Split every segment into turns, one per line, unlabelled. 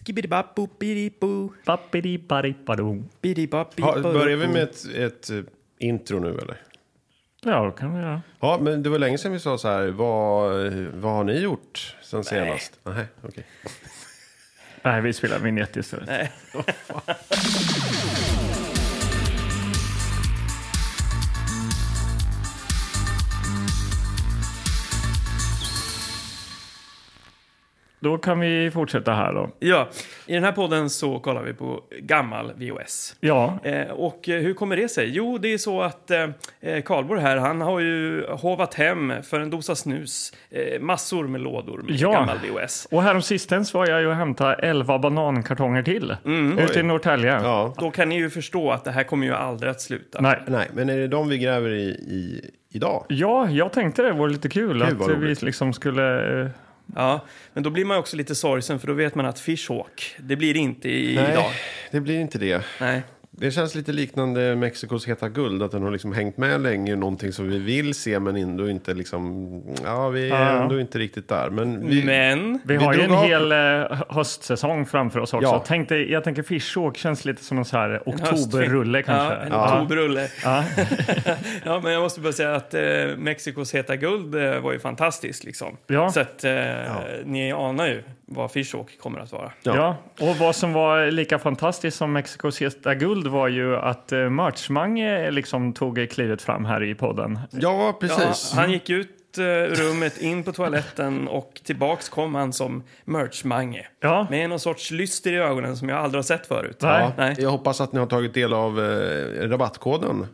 Skibidi-bapp, boop-bidi-boo.
Bappidi-badippadoo.
Bidi-bapp,
Ha,
bidi-boo.
börjar vi med ett, ett eh, intro nu eller?
Ja, det kan vi göra.
Ja, men det var länge sedan vi sa så här, vad, eh, vad har ni gjort sen senast? Nej, okej.
Nej, vi spelar vignett istället. Då kan vi fortsätta här då.
Ja, i den här podden så kollar vi på gammal VOS.
Ja,
Eh, och eh, hur kommer det sig? Jo, det är så att eh, eh, Karlborg här, han har ju hovat hem för en dosa snus eh, massor med lådor med
Ja.
gammal VOS.
och häromsistens var jag ju och hämtade 11 banankartonger till ute i
Mm, Oj.
Norrtälje.
Ja.
Då kan ni ju förstå att det här kommer ju aldrig att sluta.
Nej.
Nej, men är det de vi gräver i, i idag?
Ja, jag tänkte det vore lite kul att
vad
vi
roligt.
liksom skulle... eh,
Ja, men då blir man ju också lite sorgsen för då vet man att Fishhawk, det blir det inte i, idag.
det blir inte det.
Nej.
Det känns lite liknande Mexikos heta guld, att den har liksom hängt med länge, någonting som vi vill se men ändå inte liksom, ja vi är
Ja.
ändå inte riktigt där. Men vi,
Men...
Vi,
Vi
har ju en
drog av-
hel eh, höstsäsong framför oss också.
Ja.
Tänk dig, jag tänker Fishåk känns lite som en så här
Höstfilm.
oktoberrulle kanske.
Ja, en
Ja.
oktoberrulle. Ja. men jag måste bara säga att eh, Mexikos heta guld eh, var ju fantastiskt. Liksom.
Ja.
Så att eh, ni anar ju vad Fishhawk kommer att vara.
Ja.
Ja. och vad som var lika fantastiskt som Mexikos heta guld var ju att eh, Merchmange liksom tog klivet fram här i podden.
ja
Ja,
precis.
han gick ut eh, ur rummet, in på toaletten och tillbaks kom han som merchmange.
Ja,
Med någon sorts lyster i ögonen som jag aldrig har sett förut.
Nej.
Ja,
Nej.
Jag hoppas att ni har tagit del av eh, rabattkoden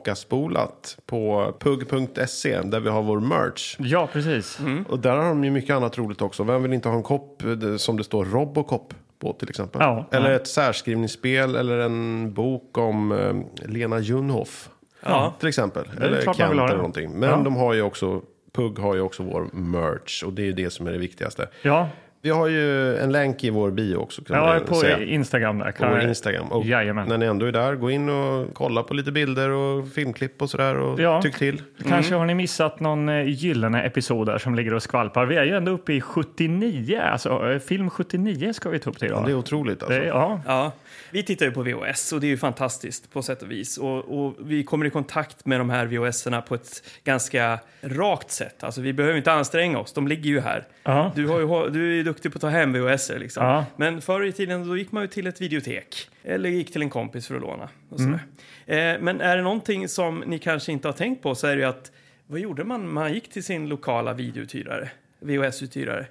tillbakaspolat på pug.se där vi har vår merch.
ja precis.
Mm.
Och där har de ju mycket annat roligt också. Vem vill inte ha en kopp eh, det- som det står Robocop på till exempel?
Ja.
eller
Ja.
ett särskrivningsspel eller en bok om eh, Lena Junhoff
Ja.
till exempel.
klart
Eller
man
Kent
vill ha
eller
det.
någonting. Men
Ja.
de har ju också, Pug har ju också vår merch och det är ju det som är det viktigaste.
Ja,
Vi har ju en länk i vår bio också. Kan
jag är
man
på
säga.
Instagram där.
På
Kan
vår
jag-
Instagram. Och
Jajamän.
när ni ändå är där, gå in och kolla på lite bilder och filmklipp och sådär. Och
Ja.
tyck till.
Kanske
Mm.
har ni missat någon eh, gyllene episod där som ligger och skvalpar. Vi är ju ändå uppe i 79, alltså eh, film 79 ska vi ta upp till
Det är
idag.
otroligt alltså.
Det, ja,
Ja, vi tittar ju på VHS och det är ju fantastiskt på sätt och vis. Och, och vi kommer i kontakt med de här VHS-erna på ett ganska rakt sätt. Alltså vi behöver inte anstränga oss, de ligger ju här.
Ja.
Du, har ju, du är ju duktig på att ta hem VHS-er liksom.
Ja.
Men förr i tiden då gick man ju till ett videotek. Eller gick till en kompis för att låna. Och sådär.
Mm.
eh, men är det någonting som ni kanske inte har tänkt på så är det ju att vad gjorde man? Man gick till sin lokala videouthyrare. VHS-uthyrare.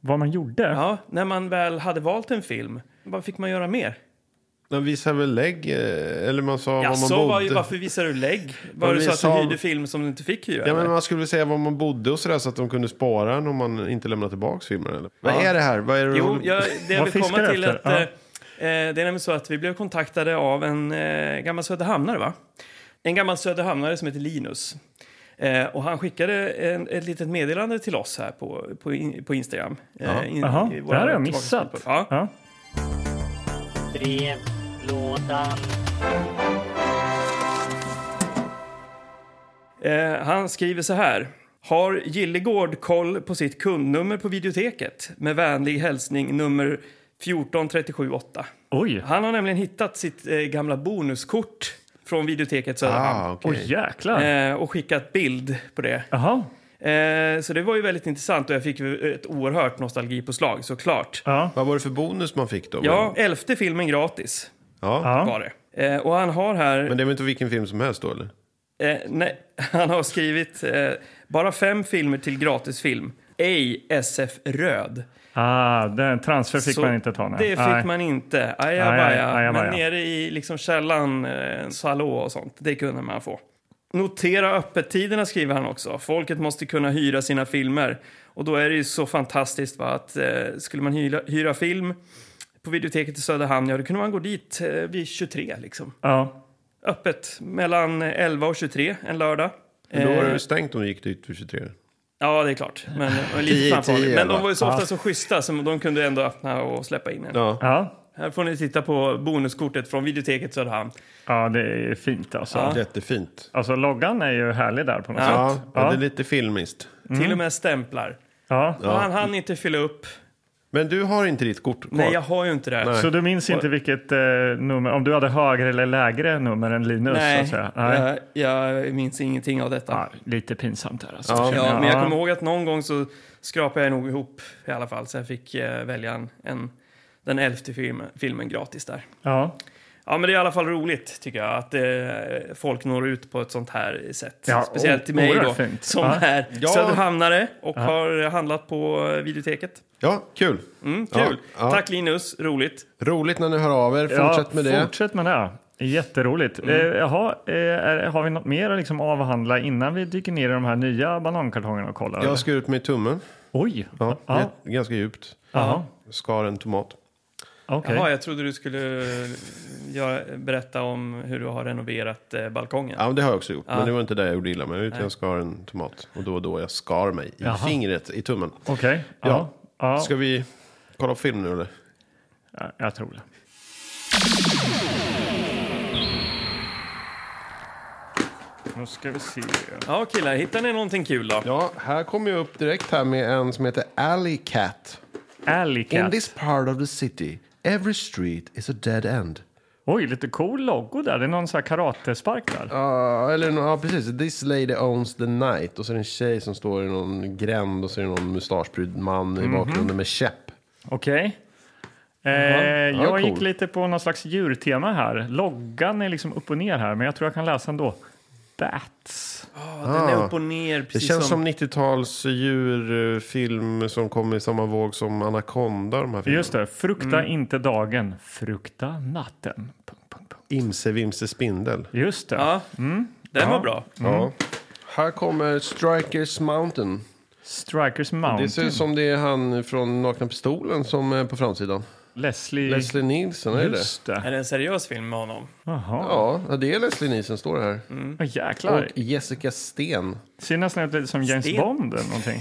vad man gjorde.
Ja, när man väl hade valt en film, vad fick man göra mer?
Man visar väl lägg, eh, eller man sa
Ja,
var man
så var
bodde.
ju, varför visar du lägg? Var
Ja,
det
vi
så att
sa-
du hyrde film som du inte fick hyra?
Ja, men
eller?
man skulle väl säga var man bodde och sådär så att de kunde spara den om man inte lämnade tillbaka filmen. Eller? Vad är det här? Vad är det
Jo, jag, det jag
Vad
vill
fiskar
komma
du
till
efter?
att eh, eh, det är nämligen så att vi blev kontaktade av en eh, gammal söderhamnare, va? En gammal söderhamnare som heter Linus. Eh, och han skickade en, ett litet meddelande till oss här på, på, in, på Instagram. Eh, in,
Jaha,
i våra
det här har jag
tillbakaspel.
missat.
Ja.
Ja.
Brevlådan.
Eh, han skriver så här. Har Gillegård koll på sitt kundnummer på videoteket? Med vänlig hälsning nummer 14378.
Oj,
Han har nämligen hittat sitt eh, gamla bonuskort från videoteket Söderhamn
Ah, okej.
oj jäklar.
eh, och skickat bild på det.
Jaha,
Eh, så det var ju väldigt intressant och jag fick ju ett oerhört nostalgipåslag såklart.
ja.
Vad var det för bonus man fick då?
Ja, elfte filmen gratis
ja.
ja.
var det. Eh, och han har här...
Men det är väl inte vilken film som helst då eller?
Eh, nej, han har skrivit eh, bara fem filmer till gratisfilm. Ej SF Röd.
Ah, den transfer fick
Så
man inte ta. Nej.
Det fick
nej.
man inte.
Nej, aj,
Ajabaja.
ajabaja.
Men nere i liksom källan, eh, Salå och sånt, det kunde man få. Notera öppettiderna skriver han också. Folket måste kunna hyra sina filmer. Och då är det ju så fantastiskt va, att eh, skulle man hyra, hyra film på videoteket i Söderhamn, ja då kunde man gå dit eh, vid 23 liksom.
Ja.
Öppet mellan 11 och 23 en lördag.
Men Då var
Eh,
det ju stängt om du gick dit för 23.
Ja, det är klart. Men, det var
Tio i
lite framförhållning.
tio,
men de
elva.
var ju så ofta så schyssta så de kunde ändå öppna och släppa in en.
Ja.
Ja.
Här får ni titta på bonuskortet från videoteket Söderhamn.
ja, det är fint alltså.
Jättefint.
Alltså loggan är ju härlig där på något
Ja.
sätt.
Ja, ja. Det är lite filmiskt.
Till och med stämplar.
Mm. Ja.
Och han hann inte fylla upp.
Men du har inte ditt kort kvar?
Nej, jag har ju inte det.
Nej.
Så du minns inte vilket eh, nummer, om du hade högre eller lägre nummer än Linus? Så att
Nej,
säga.
Jag, jag minns ingenting av detta.
Ja, lite pinsamt där alltså.
Ja.
känner
Ja, men jag kommer ihåg att någon gång så skrapade jag nog ihop i alla fall så jag fick eh, välja en, en, den elfte filmen, filmen gratis där.
Ja.
Ja, men det är i alla fall roligt tycker jag att eh, folk når ut på ett sånt här sätt.
Ja,
Speciellt till
o-
mig då,
oerhört fint.
som
Ja.
är
Ja.
söderhamnare och har handlat på eh, videoteket.
Ja, kul.
Mm, kul!
Ja, ja.
Tack Linus, roligt.
Roligt när ni hör av er.
Ja,
Fortsätt med det.
Fortsätt med det. Jätteroligt.
Mm.
Eh, jaha, eh, är, har vi något mer att liksom avhandla innan vi dyker ner i de här nya banankartongerna och kollar? eller?
Jag skar ut mig i tummen.
Oj!
Ja,
Ja.
jät- Ganska djupt.
Jaha,
Skar en tomat.
okej.
Jaha, jag trodde du skulle eh, göra, berätta om hur du har renoverat eh, balkongen.
Ja, men det har jag också gjort.
Ja.
Men det var inte där jag gjorde illa mig. Utan jag skar en tomat. Och då och då jag skar mig i
Jaha.
fingret, i tummen.
Okej. Ja.
Ja.
Ja.
Ska vi kolla på film nu eller?
ja, jag tror det. Nu ska vi se.
Ja, killar, hittar ni någonting kul då?
Ja, här kommer jag upp direkt här med en som heter Alley Cat.
Alley
In
Cat.
this part of the city, every street is a dead end.
Oj, lite cool logo där. Det är någon sån här karatespark där.
Ja, eller nå- ja, precis. This lady owns the night. Och så är det en tjej som står i någon gränd och så är det någon mustaschprydd man i bakgrunden med käpp.
Okej. Eh,
Ja,
jag
cool.
gick lite på någon slags djurtema här. Loggan är liksom upp och ner här, men jag tror jag kan läsa ändå. Bats.
Ja, Den är upp och ner,
Ah. Det
precis
känns som 90-tals djurfilm som kom i samma våg som Anaconda. De här filmerna.
Just det, frukta
Mm.
inte dagen, frukta natten. Punkt, punkt, punkt.
Imse Vimse Spindel.
Just det.
Ja, den var bra.
Mm. Ja. Här kommer Strikers Mountain.
Strikers
Det ser
Mountain.
ut som det är han från Nakna Pistolen som är på framsidan.
Leslie.
Leslie Nielsen, är det
Just det.
Är det en seriös film med honom?
Jaha.
Ja, det är Leslie Nielsen står det här.
Åh, jäklar.
Och Jessica Sten.
Ser nästan ut lite som James
Sten.
Bond eller någonting.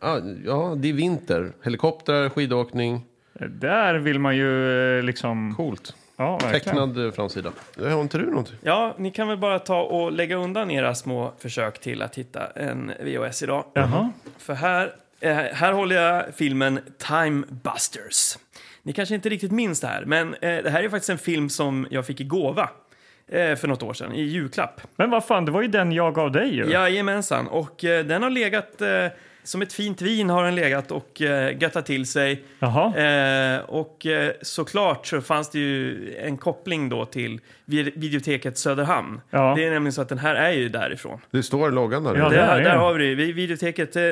Ja, ja, det är vinter. Helikopter, skidåkning.
Där vill man ju eh, liksom...
Coolt.
Ja, verkligen.
Tecknad eh, framsida. Eh, Har inte du någonting?
Ja, ni kan väl bara ta och lägga undan era små försök till att hitta en VHS idag.
Jaha.
För här, eh, här håller jag filmen Time Busters. Ni kanske inte riktigt minns det här, men eh, det här är faktiskt en film som jag fick i gåva eh, för något år sedan, i julklapp.
Men vad fan, det var ju den jag gav dig ju.
Jajamensan, och eh, den har legat eh, som ett fint vin har den legat och eh, göttat till sig.
Jaha.
Eh, och eh, såklart så fanns det ju en koppling då till vid- videoteket Söderhamn.
Ja.
Det är nämligen så att den här är ju därifrån.
Det står i loggan där.
Ja, det- är
Där, där har vi det. Vi- Videoteket eh,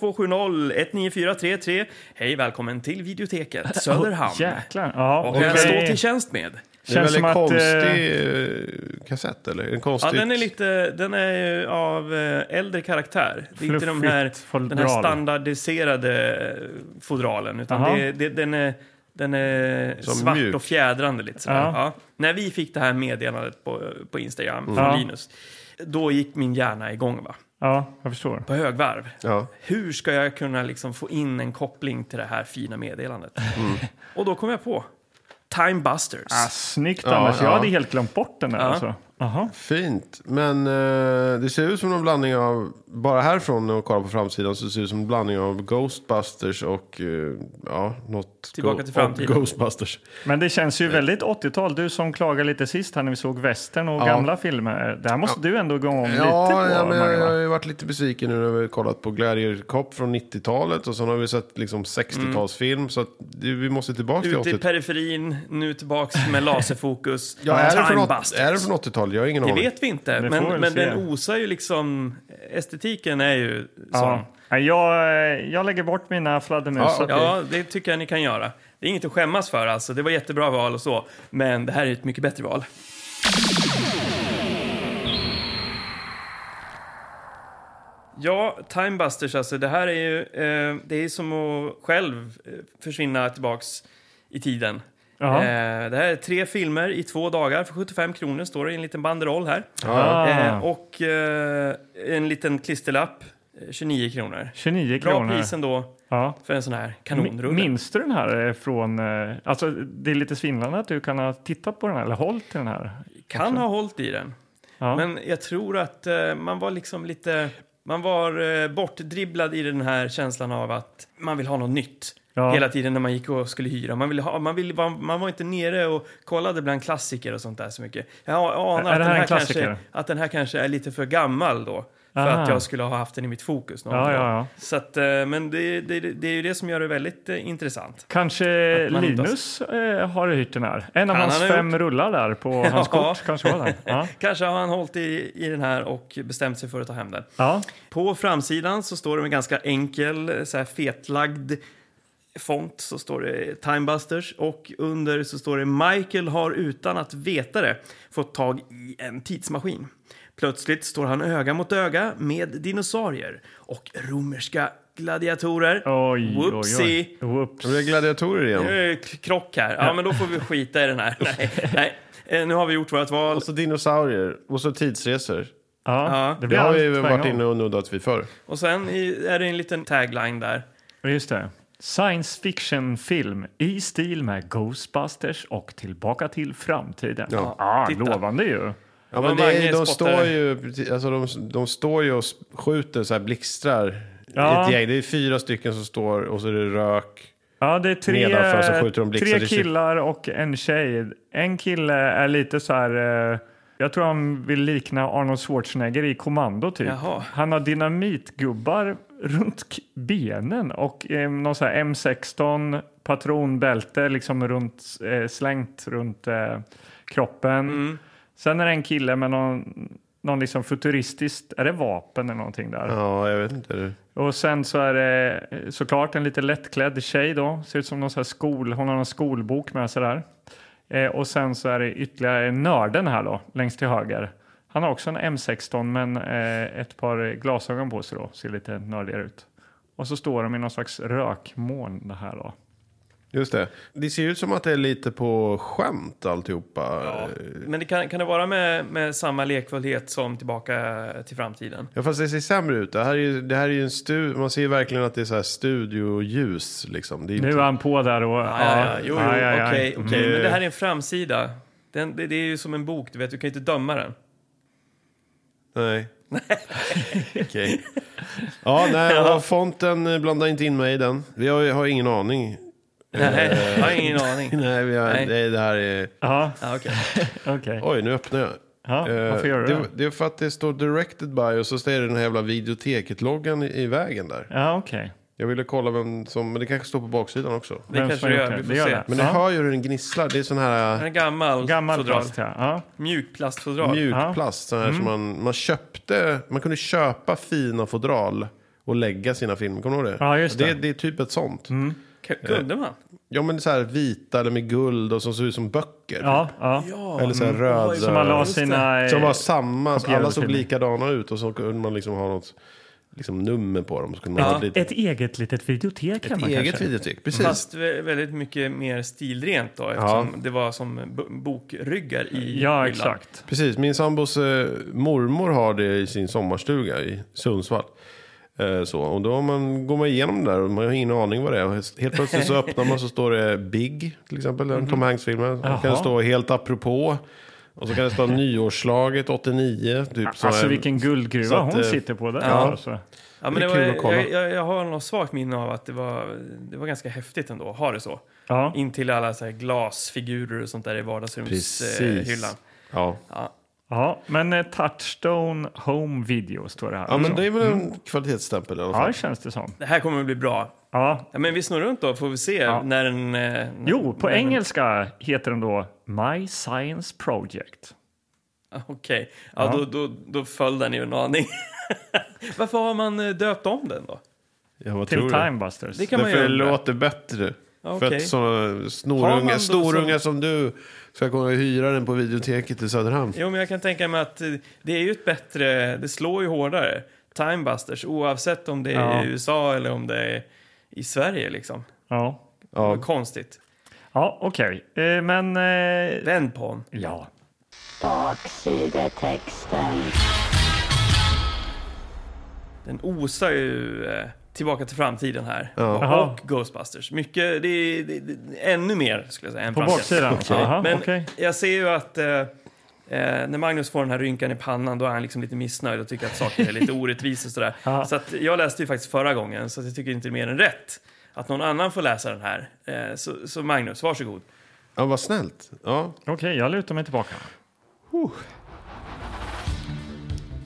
0270 19433. Hej, välkommen till videoteket Söderhamn.
Jäklar. Ja,
Och
okej.
jag står till tjänst med.
det är en
Känns
väldigt
som att, eh,
konstig eh, kassett, eller? En
Ja,
konstig...
den är lite, den är ju av eh, äldre karaktär. Det är inte de här,
Fluffigt fodral.
den här standardiserade eh, fodralen, utan
Aha.
det, det, den är, den är
Som
svart
mjuk.
och fjädrande lite sådär.
Ja.
Ja. När vi fick det här meddelandet på, på Instagram från
Ja.
Linus, då gick min hjärna igång va?
Ja, jag förstår.
på högvarv.
Ja.
Hur ska jag kunna liksom få in en koppling till det här fina meddelandet?
Mm.
Och då kom jag på Time Busters.
Ah, snyggt
Ja,
Anders, jag
ja.
hade helt glömt bort den där. Alltså. Aha.
Fint. Men eh, det ser ut som en blandning av... Bara härifrån och kolla på framsidan så ser det ut som en blandning av Ghostbusters och... eh, ja, något...
Tillbaka till framtiden.
och Ghostbusters.
Men det känns ju väldigt 80-tal. Du som klagade lite sist här när vi såg västern och
Ja.
gamla filmer. Där måste du ändå gå om lite
Ja,
på.
ja men jag,
Mange,
jag
va?
har ju varit lite besviken nu när vi har kollat på Gladiator Cop från 90-talet. Och sen har vi sett liksom 60-talsfilm. Så att, det, vi måste tillbaka till
Ute i
80-talet.
periferin, nu tillbaks med laserfokus.
Ja, är det,
Time
från åt-
Busters.
är det från 80-talet? Jag har ingen
Det
aning.
vet vi inte,
Det får vi
men, men
se.
den osar ju liksom... Estetiken är ju sån.
Ja. Ja, jag, jag lägger bort mina fladdermus.
Ja,
Ja,
okej.
Ja, det tycker jag ni kan göra. Det är inget att skämmas för alltså. Det var jättebra val och så, men det här är ett mycket bättre val. Ja, Timebusters alltså. Det här är ju eh, det är som att själv eh, försvinna tillbaks i tiden.
Jaha.
Eh, det här är tre filmer i två dagar för 75 kronor står det i en liten banderoll här.
Ah.
Eh, och eh, en liten klisterlapp, eh, 29 kronor.
29
Bra
kronor.
pris ändå
Ja.
för en sån här
Min-
kanonrulle.
Minns du den här eh, från... eh, Alltså, det är lite svindlande att du kan ha tittat på den här eller hållit i den här.
kan ha hållit i den.
Ja.
Men jag tror att eh, man var liksom lite... Man var eh, bortdribblad i den här känslan av att man vill ha något nytt.
Ja.
hela tiden när man gick och skulle hyra. Man, ville ha, man, ville, man, man var inte nere och kollade bland klassiker och sånt där så mycket. Jag anar
Är
att,
det här
den
en
här
klassiker?
kanske, att den här kanske är lite för gammal då. För
Aha.
att jag skulle ha haft den i mitt fokus. Någon
Ja,
gång.
ja, ja.
Så att, eh, men det, det, det är ju det som gör det väldigt eh, intressant.
Kanske
Att man inte har-
Linus eh, har hyrt den här. En av
Kan
hans
han ha
fem rullar där på hans kort kanske var den. Ja.
Kanske har han hållit i, i den här och bestämt sig för att ta hem den.
Ja.
På framsidan så står det med ganska enkel, eh, så här fetlagd font så står det Timebusters och under så står det Michael har utan att veta det fått tag i en tidsmaskin. Plötsligt står han öga mot öga med dinosaurier och romerska gladiatorer.
Oj, oj,
Whoopsie.
oj. Whoops.
Det är gladiatorer igen.
Nu är det k- krock här. Ja, men då får vi skita i den här. Nej, nej. Eh, Nu har vi gjort vårt val.
Och så dinosaurier. Och så tidsresor.
Ja,
Ja,
det
Det
blir
har vi
allt
ju
på en
varit
gång.
inne och nuddat vid förr.
Och sen i- är det en liten tagline där.
Ja, Just det. Science fiction-film i stil med Ghostbusters och Tillbaka till framtiden.
Ja.
Ja, ah,
Titta.
lovande ju.
Ja,
var
men det är,
Mange
de,
spottare.
står ju, alltså de, de står ju och s- skjuter så här blixtrar
Ja.
i ett gäng. Det är fyra stycken som står och så är det rök.
Ja, det är
Nedanför så
tre,
skjuter de blixtar
tre
i sig.
killar och en tjej. En kille är lite så här... eh, Jag tror han vill likna Arnold Schwarzenegger i Kommando. typ.
Jaha.
Han har dynamitgubbar runt k- benen och eh, någon så här M16 patronbälte liksom runt, eh, slängt runt eh, kroppen. Sen är det en kille med någon, någon liksom futuristiskt... Är det vapen eller någonting där?
Ja, jag vet inte.
Och sen så är det eh, såklart en lite lättklädd tjej då. Ser ut som någon så här skol, hon har någon skolbok med sig där. Eh, och sen så är det ytterligare nörden här då, längst till höger. Han har också en M16 men eh, ett par glasögon på sig då, ser lite nördigare ut. Och så står de i någon slags rökmoln det här då.
Just det. Det ser ut som att det är lite på skämt alltihopa.
Men det kan, kan det vara med, med samma lekfullhet som Tillbaka till framtiden?
Ja, fast det ser sämre ut. Det här är ju, det här är ju en stu- Man ser ju verkligen att det är så här studioljus liksom. Det är
Nu är
inte...
han på där och...
Ja, ja, ja. Jo, jo,
Aj, aj, aj.
okej, okej.
Mm.
Men det här är en framsida. Den, det, det är ju som en bok, du vet. Du kan ju inte döma den.
Nej. Okej. Ja, nej, ja. fonten, eh, blanda inte in mig i den. Vi har, har ingen aning.
Nej, jag har ingen aning.
Nej, vi har,
Nej.
nej, det här är...
Ja,
Ja, okej.
okej.
Oj, nu öppnar jag.
Ja,
Eh,
varför gör du det?
det, det är för att det står directed by och så står det den här jävla videoteket-loggan i, i vägen där.
Ja, okej.
Jag ville kolla vem som, men det kanske står på baksidan också.
Det
Vem
kanske
som
du
har
gör.
gjort
Vi får
det? Det gör
se.
det.
Men
Men
Ja.
ni hör ju hur den gnisslar. Det är sån här
den
eh,
är gammal,
Gammal
fodral.
plast, ja. ja.
Mjukplastfodral.
mjuk plast. Sån här som
Mm.
man, man köpte, man kunde köpa fina fodral och lägga sina filmer. Kommer du ihåg det?
Ja, just
det,
det. Mm.
det är typ ett sånt.
K- Kunde man?
Ja, men så här vita eller med guld och som ser ut som böcker.
Ja, ja.
Ja.
Eller så här röda.
Oj,
Som man la
Just det.
sina... eh,
Som var samma,
kopierade
alla såg
filmer.
likadana ut och så kunde man liksom ha något liksom nummer på dem. Så kunde man
Ja,
ha ett litet
Ett eget litet videotek kan man
eget
kanske.
videotek, precis.
Fast vä- väldigt mycket mer stilrent då, eftersom det var som bo- bokryggar i
Ja,
hyllan.
exakt.
Precis, min sambos eh, mormor har det i sin sommarstuga i Sundsvall. Eh, så, och då har man, går man igenom det där och man har ingen aning vad det är. Helt plötsligt så öppnar man så står det Big, till exempel, den Tom Hanks-filmen. Och kan
Jaha.
det stå Helt apropå. Och så kan det stå nyårsslaget 89. Typ, så
Alltså
här.
vilken guldgruva
så att,
hon
eh,
sitter på där.
ja.
Alltså.
Ja, men
Det
det
är
var,
kul att kolla.
jag, jag, jag har något svagt minne av att det var, det var ganska häftigt ändå att ha det så.
Ja.
In till alla så här glasfigurer och sånt där i
Precis.
vardagsrumshyllan.
Ja.
ja, men eh, Touchstone Home Video står det här.
ja, men
också.
det är väl en kvalitetsstämpel i alla
ja,
fall.
det känns det som.
Det här kommer att bli bra.
Ja.
Ja, men vi snurrar runt då, får vi se när den... eh, När,
Jo, på
när den-
engelska heter den då My Science Project.
Ah, Okej, ja, Då, då, då föll den ju en aning. Varför har man eh, döpt om den då?
Ja, vad
Till
tror du?
Timebusters.
Det kan man
Därför
ju
det
undra.
låter bättre.
Ja,
För
okej.
att sådana
Har man
snorungar,
då
storungar som du ska komma och hyra den på videoteket i Söderhamn.
Jo, men jag kan tänka mig att eh, det är ju ett bättre... Det slår ju hårdare. Timebusters, oavsett om det är
Ja.
i USA eller om det är i Sverige liksom.
Ja,
Det
Ja.
var konstigt.
ja okej. Eh, Men... eh,
Vänd på den.
Ja.
Baksidetexten.
Den osar ju eh, Tillbaka till framtiden här.
Ja.
Och Ghostbusters. Mycket, det är, det, det, ännu mer skulle jag säga. Än
På
framtiden.
baksidan?
Okej.
Jaha,
Men
okej.
jag ser ju att eh, eh, när Magnus får den här rynkan i pannan då är han liksom lite missnöjd och tycker att saker är lite orättvisa och sådär.
Ja.
Så att jag läste ju faktiskt förra gången så att jag tycker inte det är mer än rätt att någon annan får läsa den här. Eh, så, så Magnus, varsågod.
Ja, vad snällt. Ja.
Okej, jag lutar mig tillbaka.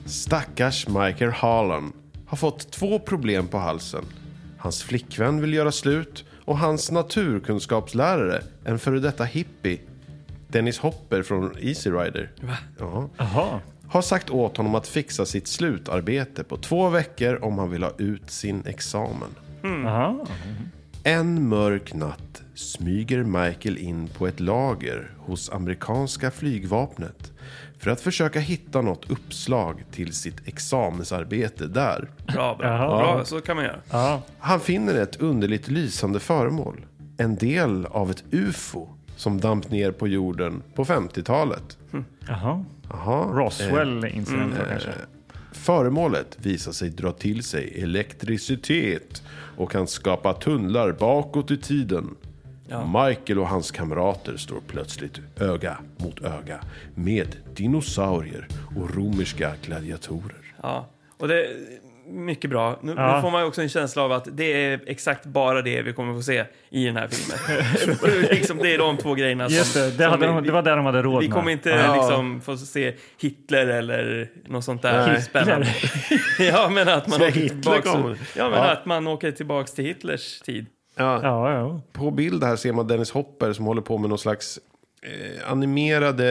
Stackars Michael Harlan har fått två problem på halsen. Hans flickvän vill göra slut och hans naturkunskapslärare, en före detta hippie, Dennis Hopper från Easy Rider, ja,
Jaha.
har sagt åt honom att fixa sitt slutarbete på två veckor om han vill ha ut sin examen.
Aha.
En mörk natt smyger Michael in på ett lager hos amerikanska flygvapnet för att försöka hitta något uppslag till sitt examensarbete där.
Bra, bra.
Jaha.
bra så kan man göra.
Ja.
Han finner ett underligt lysande föremål. En del av ett ufo som damp ner på jorden på 50-talet.
Jaha.
Jaha. Eh, mm,
Roswell-incidenten kanske.
Föremålet visar sig dra till sig elektricitet och kan skapa tunnlar bakåt i tiden. Michael och hans kamrater står plötsligt öga mot öga med dinosaurier och romerska gladiatorer.
Ja. Och det är mycket bra. Nu, nu
Ja.
får man ju också en känsla av att det är exakt bara det vi kommer få se i den här filmen. liksom, det är de två grejerna som...
Just det, det,
som
hade
vi-
de, det var där de hade råd
Vi
med.
kommer inte liksom, få se Hitler eller något sånt där
Nej.
spännande. ja, men att man,
Så
åker
Hitler
tillbaks,
kommer.
ja, men
Ja.
Att man åker tillbaks till Hitlers tid.
Ja, ja.
På bild här ser man Dennis Hopper som håller på med någon slags eh, animerade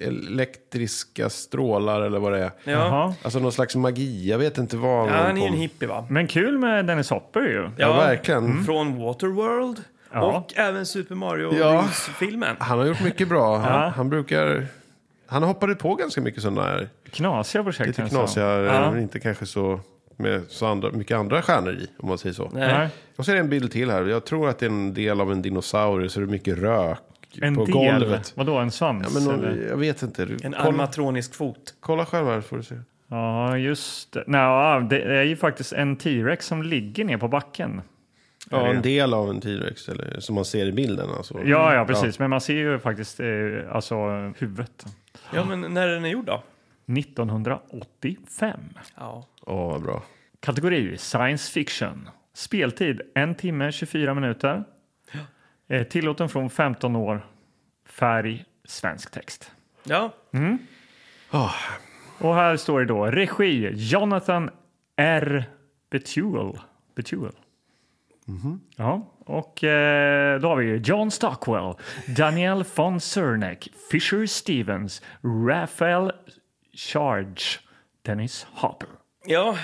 elektriska strålar eller vad det är.
Ja.
Jaha.
Alltså någon slags magi, jag vet inte vad.
Ja,
han
han är ju
håller
en
på med.
hippie, va?
Men kul med Dennis Hopper ju.
Ja, verkligen.
Från Waterworld
Mm. Ja.
och även Super
Ja.
Mario-filmen.
Han har gjort mycket bra. Han,
Ja.
han brukar... Han hoppade på ganska mycket sådana här
Knasiga projekt. alltså.
lite
nästan.
knasiga, eh,
Ja.
men inte kanske så, med så andra, mycket andra stjärnor i, om man säger så.
Nej.
Och så är det en bild till här. Jag tror att det är en del av en dinosaurie, så det är mycket rök
En
på
del?
golvet.
Vadå, en svans?
Ja, men
eller?
någon, jag vet inte. Du,
En
kolla,
animatronisk fot.
kolla själv här får du se.
ja just det. Nej, ja, det är ju faktiskt en T-Rex som ligger ner på backen.
Ja, en del av en T-Rex, eller som man ser i bilden. Alltså.
Ja, ja precis. Men man ser ju faktiskt eh, alltså, huvudet.
Ja, men när den är gjord då?
1985.
Ja.
Åh, vad bra.
Kategori science fiction. Speltid 1 timme 24 minuter. Eh, tillåten från 15 år. Färg svensk text.
ja.
Och här står det då regi Jonathan R. Betuel. Betuel. Ja, och eh, då har vi ju John Stockwell, Daniel von Cernek, Fisher Stevens, Raphael Charge, Dennis Hopper.
Ja,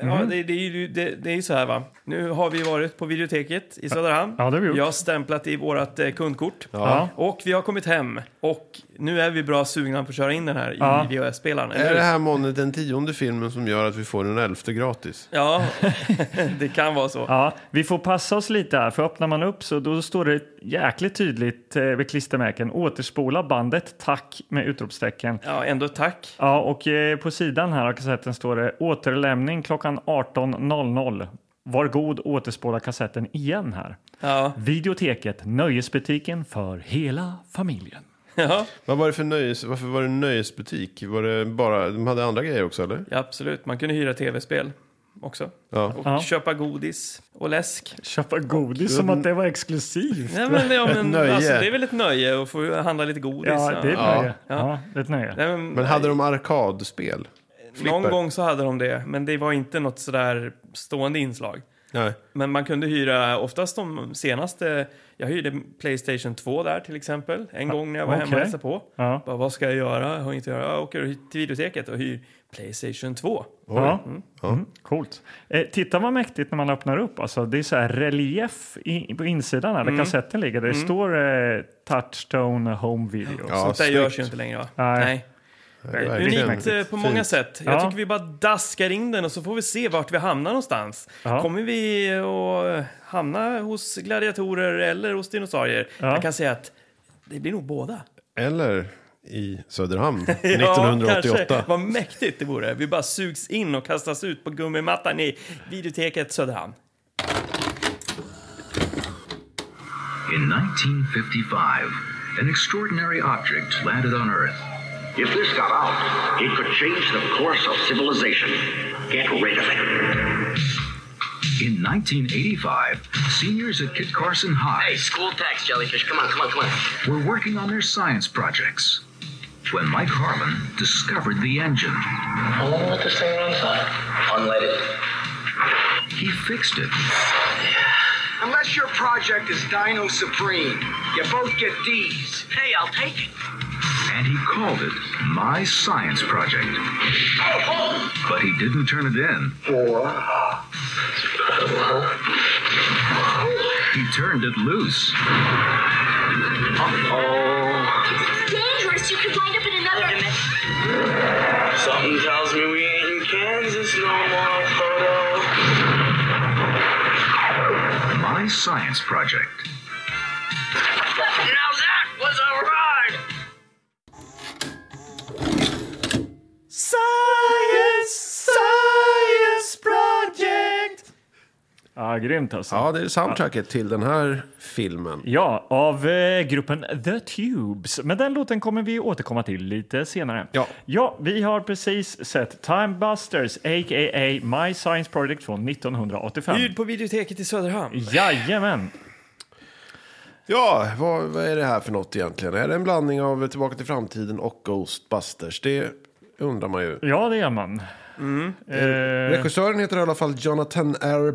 ja
Mhm.
det, det, är ju- det, det är ju så här va. Nu har vi varit på videoteket i Söderhamn.
Ja, det har vi gjort.
Jag har stämplat i vårt eh, kundkort.
Ja.
Och vi har kommit hem. Och nu är vi bra sugna på att köra in den här
Ja.
i VHS-spelaren. eller
Är det
hur?
här månne den tionde filmen som gör att vi får den elfte gratis?
Ja, det kan vara så.
Ja, vi får passa oss lite här, för öppnar man upp så då står det jäkligt tydligt eh, vid klistermärken återspola bandet tack med utropstecken.
Ja, ändå tack.
Ja, och eh, på sidan här av kassetten står det återlämning klockan 18.00. Var god återspola kassetten igen här.
Ja,
Videoteket, nöjesbutiken för hela familjen.
ja.
Vad var det för nöjes, varför var det en nöjesbutik? Var det bara, de hade andra grejer också eller?
ja absolut. Man kunde hyra tv-spel också.
Ja.
Och
Ja.
köpa godis och läsk.
Köpa godis som att det var exklusivt.
Nej, men, ja, men,
nöje.
Alltså, det är väl ett nöje att få handla lite godis.
Ja, det är ett
Ja.
nöje. Ja, det är ett nöje.
Nej, men,
Men hade de arkadspel?
någon
flipper?
gång så hade de det, men det var inte något sådär stående inslag.
Nej.
Men man kunde hyra oftast de senaste. Jag hyrde Playstation 2 där till exempel. En gång när jag var hemma
okej.
och hälsade på.
Ja.
Bara, vad ska jag göra? Jag har inte att göra. Jag åker till videoteket och hyr Playstation 2.
Ja. Mm. Coolt. Eh, titta vad mäktigt när man öppnar upp. Alltså, det är så här relief i, på insidan här, där kassetten ligger. Där Det står eh, Touchstone Home Video.
Ja,
Sånt där
snyggt.
görs ju inte längre va?
Nej.
Verkligen.
Unikt eh, på många
Fint.
sätt. Jag
Ja.
tycker vi bara daskar in den och så får vi se vart vi hamnar någonstans.
Ja.
Kommer vi att eh, hamna hos gladiatorer eller hos dinosaurier?
Ja.
Jag kan säga att det blir nog båda.
Eller i Söderhamn
Ja,
1988.
kanske. Vad mäktigt det vore. Vi bara sugs in och kastas ut på gummimattan i videoteket Söderhamn.
In 1955, an extraordinary object landed on Earth.
If this got out, it could change the course of civilization. Get rid of it.
In 1985, seniors at Kit Carson High
Hey, school tax, jellyfish. Come on, come on, come on.
were working on their science projects when Mike Harlan discovered the engine.
Only what this thing runs on. Unleaded.
He fixed it
Unless your project is Dino Supreme, you both get D's.
Hey, I'll take it.
and he called it My Science Project. But he didn't turn it in. He turned it loose.
dangerous. You could wind up in another.
Something tells me we ain't in Kansas no more, photo.
My Science Project.
Now that was a ride!
Science, science project! Ja, grymt alltså.
Ja, det är soundtracket till den här filmen.
Ja, av eh, gruppen The Tubes. Men den låten kommer vi återkomma till lite senare.
Ja.
ja vi har precis sett Time Busters, a.k.a. My Science Project från 1985.
Ljud på videoteket i Söderhamn.
Jajamän!
Ja, vad, vad är det här för något egentligen? Är det en blandning av Tillbaka till framtiden och Ghostbusters? Det undrar man ju.
Ja, det är man. Eh,
Regissören heter i alla fall Jonathan R.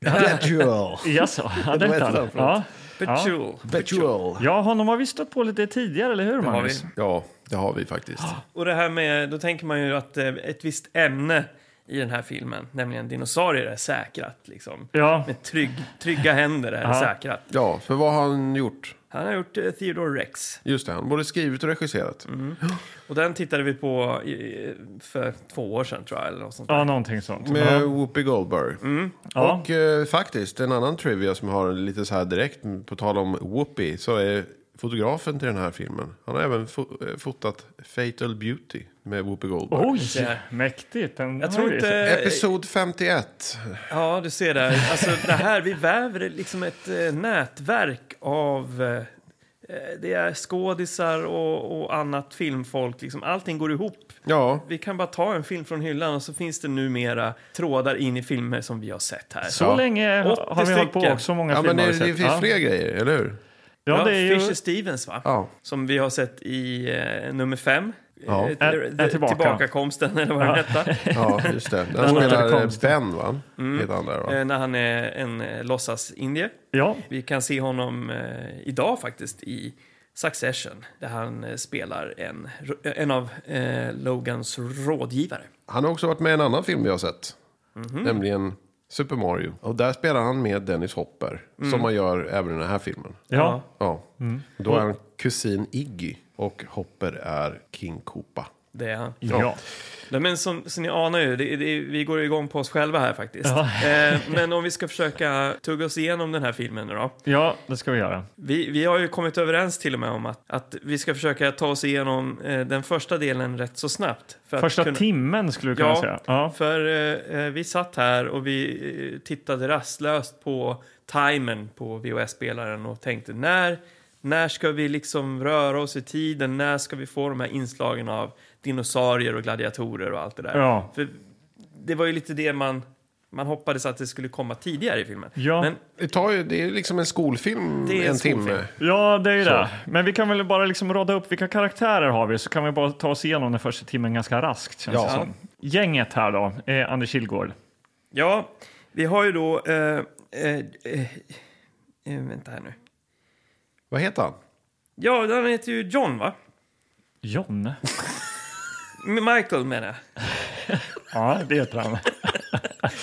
Betuel.
jaså, ja, det
Vad heter
är
den?
han. Ja. Ja.
Petrol.
Betuel.
ja, honom har vi stött på lite tidigare, eller hur
har
Magnus?
vi.
Ja, det har vi faktiskt.
Och det här med, då tänker man ju att eh, ett visst ämne i den här filmen, nämligen dinosaurier, är säkrat. Liksom.
Ja,
Med trygg, trygga händer är det säkrat.
Ja, för vad har han gjort?
Han har gjort eh, Theodore Rex.
Just det, han både skrivit och regisserat.
Mm.
Och den tittade vi på i, för två år sedan tror jag. Eller något sånt. där.
ja någonting sånt.
Med
Ja. Mm.
Whoopi Goldberg.
Ja.
Och eh, faktiskt, en annan trivia som har lite så här direkt, på tal om Whoopi, så är fotografen till den här filmen. Han har även fo- eh, fotat Fatal Beauty med Whoopi Goldberg.
Oj, mäktigt. Den
Jag
har
tror
vi
inte...
sett.
Episod 51.
Ja, du ser där. Alltså det här, vi väver liksom ett eh, nätverk av... Eh, det är skådisar och, och annat filmfolk. Liksom. Allting går ihop.
Ja,
Vi kan bara ta en film från hyllan och så finns det numera trådar in i filmer som vi har sett här.
Så
Ja.
länge
80
har vi hållit på
stycken.
och så många
ja
filmer
men det,
har
det
vi sett.
finns
ja.
fler grejer, eller hur?
Ja, det är ju...
Fisher Stevens, va?
Ja.
Som vi har sett i eh, nummer fem.
Ja.
Eh,
Är- är tillbaka.
Tillbakakomsten, eller vad den hette.
Ja, just det. Den
låter
spelar eh,
konstigt.
Ben, va? Heter han där, va?
Eh, när han är en eh, låtsas-indier.
Ja,
Vi kan se honom eh, idag faktiskt i Succession där han eh, spelar en, en av eh, Logans rådgivare.
Han har också varit med i en annan film vi har sett.
Mhm.
Nämligen Super Mario. Och där spelar han med Dennis Hopper.
Mm.
Som man gör även i den här filmen.
ja.
Ja. Då är han kusin Iggy. Och Hopper är King Koopa.
Det är han.
ja. ja.
Nej, Men som, som ni anar ju, det, det, vi går igång på oss själva här faktiskt.
Ja.
Eh, men om vi ska försöka tugga oss igenom den här filmen nu då.
det ska vi göra.
Vi, vi har ju kommit överens till och med om att, att vi ska försöka ta oss igenom eh, den första delen rätt så snabbt. För att
Första
kunna-
timmen skulle du kunna säga. Ja.
för eh, eh, vi satt här och vi eh, tittade rastlöst på timern på VHS-spelaren och tänkte när, när ska vi liksom röra oss i tiden? När ska vi få de här inslagen av dinosaurier och gladiatorer och allt det där?
Ja.
För det var ju lite det man, man hoppades att det skulle komma tidigare i filmen.
Ja.
Men
Det, tar ju, det är liksom en skolfilm
Det är en
en,
skolfilm.
timme.
ja, det är ju det. Men vi kan väl bara liksom rada upp vilka karaktärer har vi så kan vi bara ta oss igenom den första timmen ganska raskt. Känns
Ja.
det som. Gänget här då, är Anders Kilgård.
ja, vi har ju då... Eh, eh, eh, eh, vänta här nu.
Vad heter han?
Ja, han heter ju John, va?
John?
Michael menar jag.
Ja, det heter han.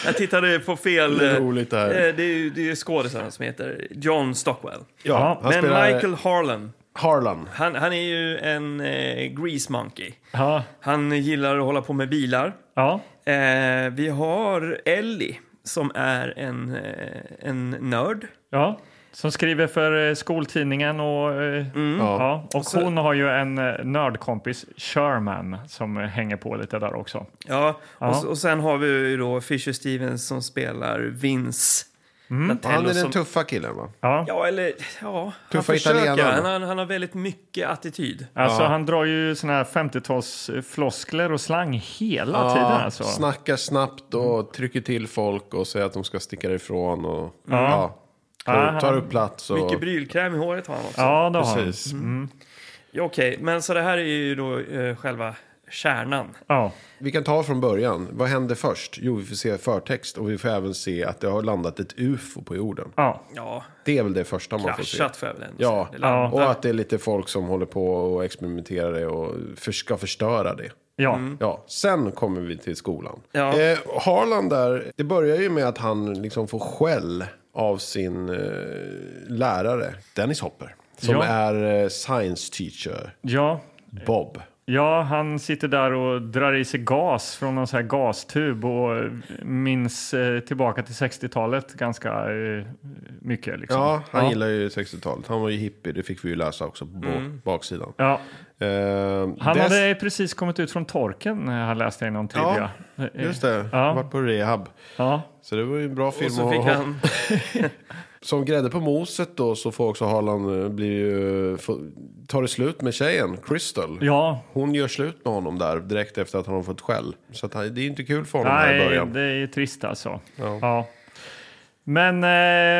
Jag tittade på fel...
Det är
eh,
roligt det här.
eh, Det är ju det är ju skådisen som heter John Stockwell.
Ja, han
Men
spelar
Michael Harlan,
Harlan.
han, han är ju en eh, grease monkey.
Ja,
Han gillar att hålla på med bilar.
ja.
Eh, vi har Ellie som är en, eh, en nörd.
ja. Som skriver för eh, skoltidningen och... eh,
Ja.
Ja, och hon har ju en eh, nördkompis, Sherman, som eh, hänger på lite där också.
Ja,
Ja.
Och, s- och sen har vi ju då Fisher Stevens som spelar Vince. Donatello
Mm. Han är den
som-
tuffa killen va?
Ja.
Ja, eller ja, han
Tuffa
försöker.
italienarna.
Han, har- han har väldigt mycket attityd.
Alltså han drar ju såna här 50-tals floskler och slang hela tiden alltså.
Snackar snabbt och trycker till folk och säger att de ska sticka ifrån och ja. Ah.
Ja,
tar, tar upp plats. Och,
Mycket Mm. brylkräm i håret har han också. Ja.
Ja, det har han.
precis. Mm.
Okej, men så det här är ju då eh, själva kärnan.
Ja.
Vi kan ta från början. Vad hände först? Jo, vi får se förtext och vi får även se att det har landat ett ufo på jorden.
Ja.
Ja,
Det är väl det första man får se.
kraschat får jag väl ändå
Ja,
säga. Det landar.
och att det är lite folk som håller på och experimenterar det och för, ska förstöra det.
ja.
Ja, sen kommer vi till skolan.
Ja.
Eh, Harlan där, det börjar ju med att han liksom får skäll av sin eh, lärare, Dennis Hopper. Som
Ja.
är eh, science teacher,
ja.
Bob.
Ja, han sitter där och drar i sig gas från någon sån här gastub och eh, minns eh, tillbaka till 60-talet ganska eh, mycket. Liksom.
Ja, han gillar ju 60-talet. Han var ju hippie, det fick vi ju läsa också på baksidan.
Ja.
Eh,
Han
dess-
hade precis kommit ut från torken, eh, här läste jag i någon
Ja,
trivia.
just det.
Ja. Eh,
Varit på rehab.
Ja.
Så det var ju en bra film.
Och så
att
fick
ha-
han...
Som grädde på moset då så får också Harlan eh, bli ju... få- Tar det slut med tjejen, Crystal.
ja.
Hon gör slut med honom där direkt efter att han har fått skäll. Så att han, det är inte kul för honom här i
Nej,
början.
det är ju trist alltså. Ja. Men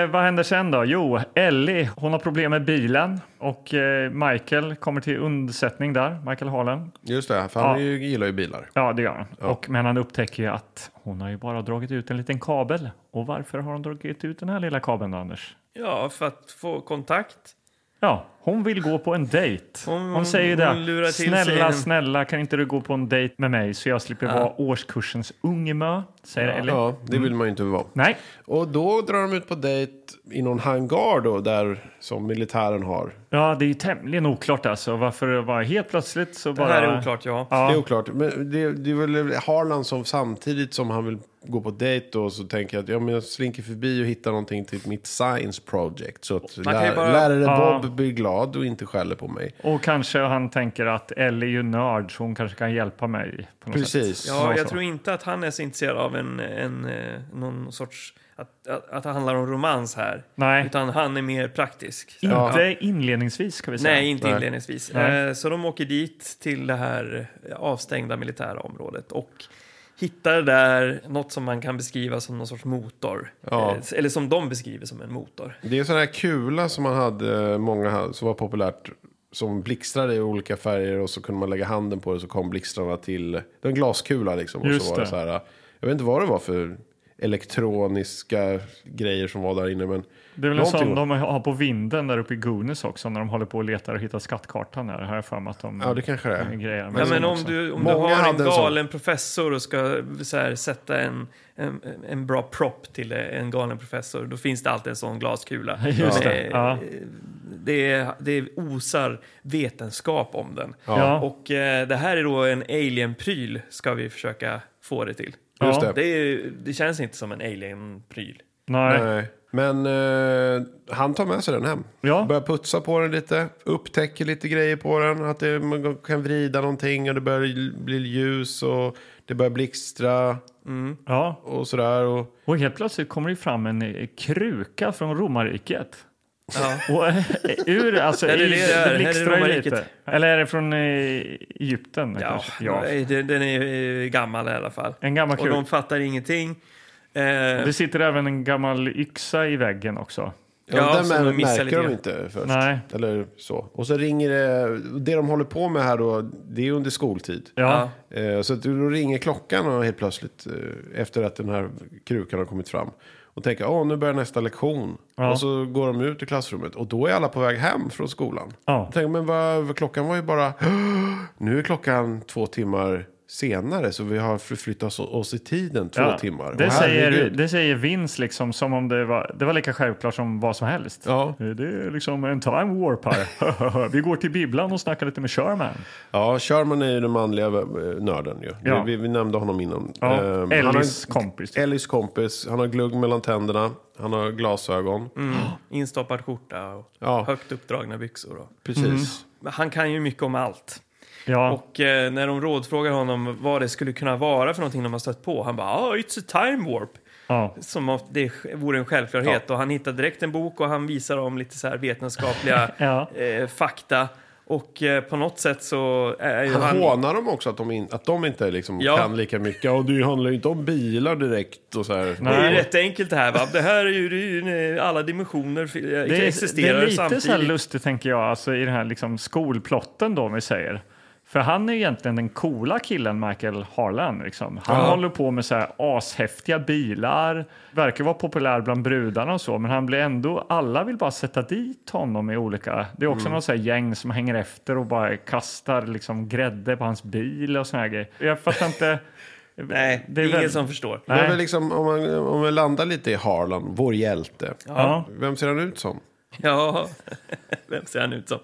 eh, vad händer sen då? Jo, Ellie, hon har problem med bilen och eh, Michael kommer till undsättning där, Michael Harlan.
Just det, för han är ju, gillar ju bilar.
Ja, det gör han. Och, men han upptäcker ju att hon har ju bara dragit ut en liten kabel. Och varför har hon dragit ut den här lilla kabeln då, Anders?
Ja, för att få kontakt.
Ja, hon vill gå på en dejt. Hon,
Hon-
säger
hon lurar
det.
till sig
Snälla,
en-
snälla, kan inte du gå på en dejt med mig så jag slipper vara årskursens ungemö? Säger Ellie.
Ja, det vill man ju inte vara.
Nej,
Och då drar de ut på dejt i någon hangar då, där som militären har.
Ja, det är ju tämligen oklart alltså. Varför det var helt plötsligt så
Det
bara...
här är oklart, ja.
Det är oklart. Men det, det är väl Harlan som samtidigt som han vill gå på dejt då, så tänker jag att ja, men jag slinker förbi och hittar någonting till mitt science project. Så att
kan ju
lär,
bara-
lärare
Ja.
Bob blir glad och inte skäller på mig.
Och kanske han tänker att Ellie är ju nörd så hon kanske kan hjälpa mig. På något Sätt.
Precis.
Ja,
Så,
jag
så.
tror inte att han är så intresserad av en, en, eh, någon sorts... Att, att, att det handlar om romans här.
Nej.
Utan han är mer praktisk. Så-
Inte inledningsvis ska vi säga.
Nej, inte
Nej.
inledningsvis.
Nej.
Eh, Så de åker dit till det här eh, avstängda militära området och hittar där något som man kan beskriva som någon sorts motor.
Ja.
Eh, Eller som de beskriver som en motor.
Det är en sån här kula som man hade, eh, många ha- som var populärt. Som blixtrade i olika färger och så kunde man lägga handen på det så kom blixtrarna till. Det var en glaskula liksom. Och
Just
så var det.
det.
så här, eh, jag vet inte vad det var för elektroniska grejer som var där inne. Men
Det är väl en
någonting
sån
var-
de har på vinden där uppe i Goonies också när de håller på och letar och hittar skattkartan där. Har jag för mig att de
Ja, det kanske det är.
grejer
Ja,
med.
men
den
om
också.
du, om du
Många
har en
hade en sån.
galen professor och ska så här, sätta en, en, en bra prop till en galen professor, då finns det alltid en sån glaskula.
Just
Eh,
det. Ja.
det, är, det osar vetenskap om den.
Ja.
Och eh, det här är då en alien-pryl, ska vi försöka få det till.
Just
Ja.
det.
Det, är, det känns inte som en alien-pryl.
Nej.
Nej. Men eh, han tar med sig den hem.
Ja.
Börjar putsa på den lite. Upptäcker lite grejer på den. Att det, man kan vrida någonting och det börjar bli ljus och det börjar blixtra
Ja.
och sådär. Och,
Och helt plötsligt kommer det fram en eh, kruka från romarriket.
Ja.
Och, eh, ur, alltså,
Är det
i,
det det är? Är det
blixtrar ju
romarriket?
lite. Eller är det från eh, Egypten?
Ja,
kanske?
nej, Den, den är eh, gammal i alla fall.
En gammal
Och
kul.
de fattar ingenting. Eh,
Det sitter även en gammal yxa i väggen också.
ja,
Ja,
den
så
mär-
de missar lite
märker de
grann.
inte först.
Nej.
Eller så. Och så ringer det. Det de håller på med här då. Det är under skoltid.
Ja,
Ja.
Eh, Så att då ringer klockan och helt plötsligt eh, efter att den här krukan har kommit fram. Och tänker, åh nu börjar nästa lektion.
Ja.
Och så går de ut i klassrummet och då är alla på väg hem från skolan.
Ja.
Jag tänker, men vad, vad- klockan var ju bara, nu är klockan två timmar senare. Så vi har förflyttat oss, oss i tiden två
ja.
timmar.
Det
Åh,
säger,
herregud.
det säger Vince liksom som om det var, det var lika självklart som vad som helst.
Ja.
Det är liksom en time warp här. Vi går till bibblan och snackar lite med Sherman.
Ja, Sherman är ju den manliga eh, nörden ju.
Ja.
Vi, vi nämnde honom innan.
Ja.
Eh, han har-
Ellis kompis.
Ellis kompis, han har glugg mellan tänderna, han har glasögon.
Mm.
Instoppad skjorta och
Ja.
högt uppdragna byxor. Och.
Precis.
Mm.
Men Han kan ju mycket om allt.
Ja.
Och eh, när de rådfrågar honom vad det skulle kunna vara för någonting de har stött på, han bara ah, “It's a time warp”.
Ja.
Som om det vore en självklarhet. Och han hittar direkt en bok och han visar om lite så här vetenskapliga
Ja.
eh, fakta. Och eh, på något sätt så är ju
Han
han...
hånar dem också att de, in, att de inte liksom
Ja.
kan lika mycket. Och det handlar ju inte om bilar direkt och så här.
Det är ju
Nej.
rätt enkelt det här va? Det här är ju, det är ju alla dimensioner fi-
Det är, det
existerar
är lite
samtidigt.
så här lustigt tänker jag, alltså i den här liksom skolplotten då om vi säger. För han är egentligen den coola killen Michael Harlan. Liksom. Han håller på med så här ashäftiga bilar, verkar vara populär bland brudarna och så, men han blir ändå, alla vill bara sätta dit honom i olika, det är också
Mm.
någon så här gäng som hänger efter och bara kastar liksom grädde på hans bil och såna här grejer. Jag fattar inte.
Nej, det är ingen
väl-
som förstår.
Det är
Nej.
väl liksom, om, man, om vi landar lite i Harlan, vår hjälte.
Ja.
Vem ser han ut som?
Ja, vem ser han ut som?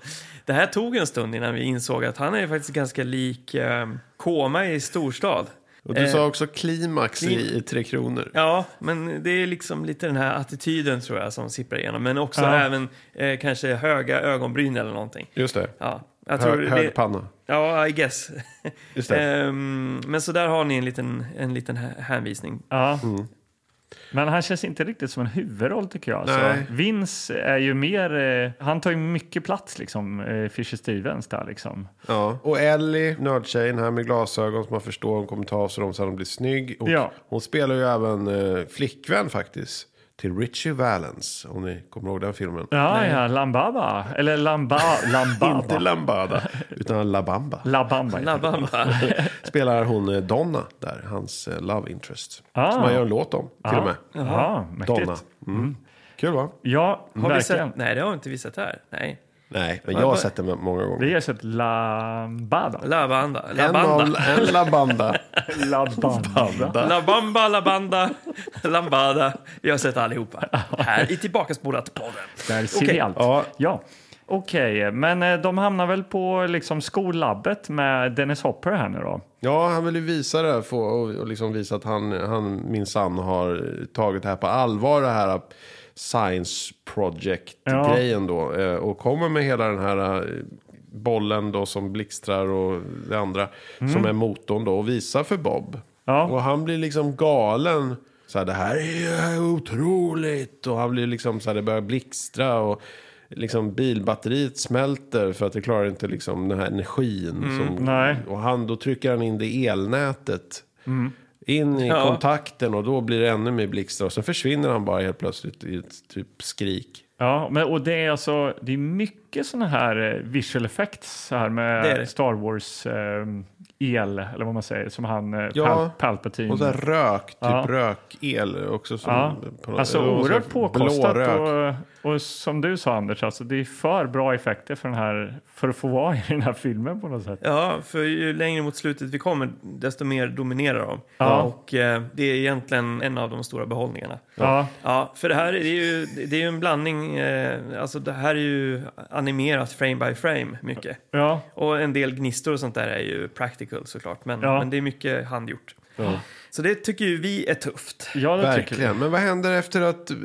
Det här tog en stund innan vi insåg att han är ju faktiskt ganska lik eh, Koma i storstad.
Och du sa också klimax i, i Tre Kronor.
Ja, men det är liksom lite den här attityden tror jag som sipprar igenom. Men också
Ja.
även eh, kanske höga ögonbryn eller någonting.
Just det.
Ja, jag tror
Hö,
det,
hög panna.
Ja, I guess.
Just det.
Ehm, men så där har ni en liten, en liten hä- hänvisning.
Ja.
Mm.
Men han känns inte riktigt som en huvudroll tycker jag. Så
Nej.
Vince är ju mer, eh, han tar ju mycket plats liksom, eh, Fisher Stevens där liksom.
Ja. Och Ellie, nördtjejen här med glasögon som man förstår, hon kommer ta av sig dem så att hon blir snygg. Och
Ja.
Hon spelar ju även eh, flickvän faktiskt. Till Richie Valens, om ni kommer ihåg den filmen.
Ja, ja, Lambaba. Eller Lamba,
Inte
Lambaba.
Lambada, utan La Bamba.
Labamba. heter
La
det.
Bamba.
Spelar hon eh, Donna där, hans eh, love interest.
Ah.
Som han gör en låt om, till och med.
Ja,
Donna.
mäktigt.
Mm. Kul va?
Ja,
Har vi
verkligen.
sett? Nej, det har vi inte visat här. Nej.
Nej, men jag har sett den många gånger.
Vi har sett Lambada.
La Banda. La
En, av,
Banda.
en La Banda.
Labamba.
La Bamba, La Banda, Lambada. Vi har sett allihopa. Här i Tillbakaspolat-podden.
Där ser vi
Okej.
allt.
Ja.
Ja. Okej, men eh, de hamnar väl på liksom, skollabbet med Dennis Hopper här nu då?
Ja, han vill ju visa det här få- och, och liksom visa att han, han minsann har tagit det här på allvar. Det här science project-grejen då. eh, Och kommer med hela den här eh, bollen då som blixtrar och det andra. Som är motorn då och visar för Bob.
Ja.
Och han blir liksom galen. Så här, det här är ju otroligt. Och han blir liksom så här, det börjar blixtra. Och liksom bilbatteriet smälter för att det klarar inte liksom den här energin. som,
nej. Mm.
Och han, då trycker han in det i elnätet. In i
Ja.
kontakten och då blir det ännu mer blixtra. Och sen försvinner han bara helt plötsligt i ett typ skrik.
Ja, men, och det är alltså det är mycket såna här eh, visual effects så här med
Det är det.
Star Wars eh, el, eller vad man säger, som han eh,
Ja,
Pal- Palpatine.
Och så här rök, typ
Ja.
rökel också. Som
ja.
på något-
Alltså
och så här
oerhört påkostat
blårök.
och, och som du sa Anders, alltså, det är för bra effekter för, den här, för att få vara i den här filmen på något sätt.
Ja, för ju längre mot slutet vi kommer, desto mer dominerar de.
Ja.
Och eh, det är egentligen en av de stora behållningarna.
Ja,
Ja, för det här är ju, det är ju en blandning. Eh, alltså det här är ju animerat frame by frame mycket.
ja,
Och en del gnistor och sånt där är ju practical såklart. Men,
Ja.
men det är mycket handgjort. Så det tycker ju vi är tufft.
ja det tycker jag.
Verkligen. Men vad händer efter att eh,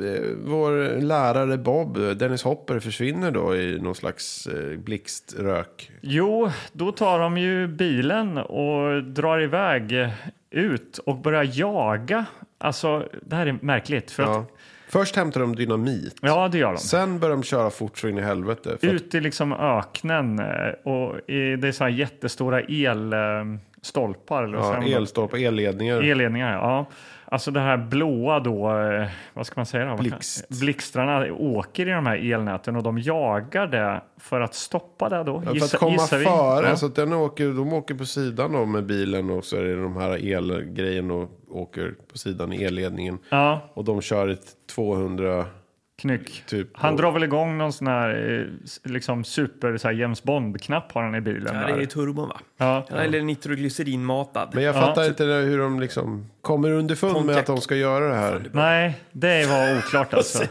vår lärare Bob, eh, Dennis Hopper, försvinner då i någon slags eh, blixtrök?
Jo, då tar de ju bilen och drar iväg eh, ut och börjar jaga. Alltså, det här är märkligt. För
Ja.
att,
Först hämtar de dynamit.
ja, det gör de.
Sen börjar de köra fort så in i helvete. För att,
Ut i liksom öknen eh, och i, det är så här jättestora elstolpar. Eller vad
ja,
säger man?
elstolpar, elledningar.
Elledningar, ja. Alltså det här blåa då, eh, vad ska man säga? Då?
Blixt.
Blixtrarna åker i de här elnäten och de jagar det för att stoppa det då.
Ja, för
gissa-
att komma
gissar vi.
före.
Ja.
Så att den åker, de åker på sidan då med bilen och så är det de här elgrejen och åker på sidan i elledningen.
ja,
Och de kör ett 200...
knyck.
Typ.
han
Och-
drar väl igång någon sån här eh, s- liksom super så här James Bond-knapp har han i bilen.
Ja,
där.
det är ju turbon va?
ja.
Eller nitroglycerinmatad.
Men jag fattar inte det- hur de liksom kommer underfund med
Pontiac.
att de ska göra det här.
Nej, det var oklart alltså.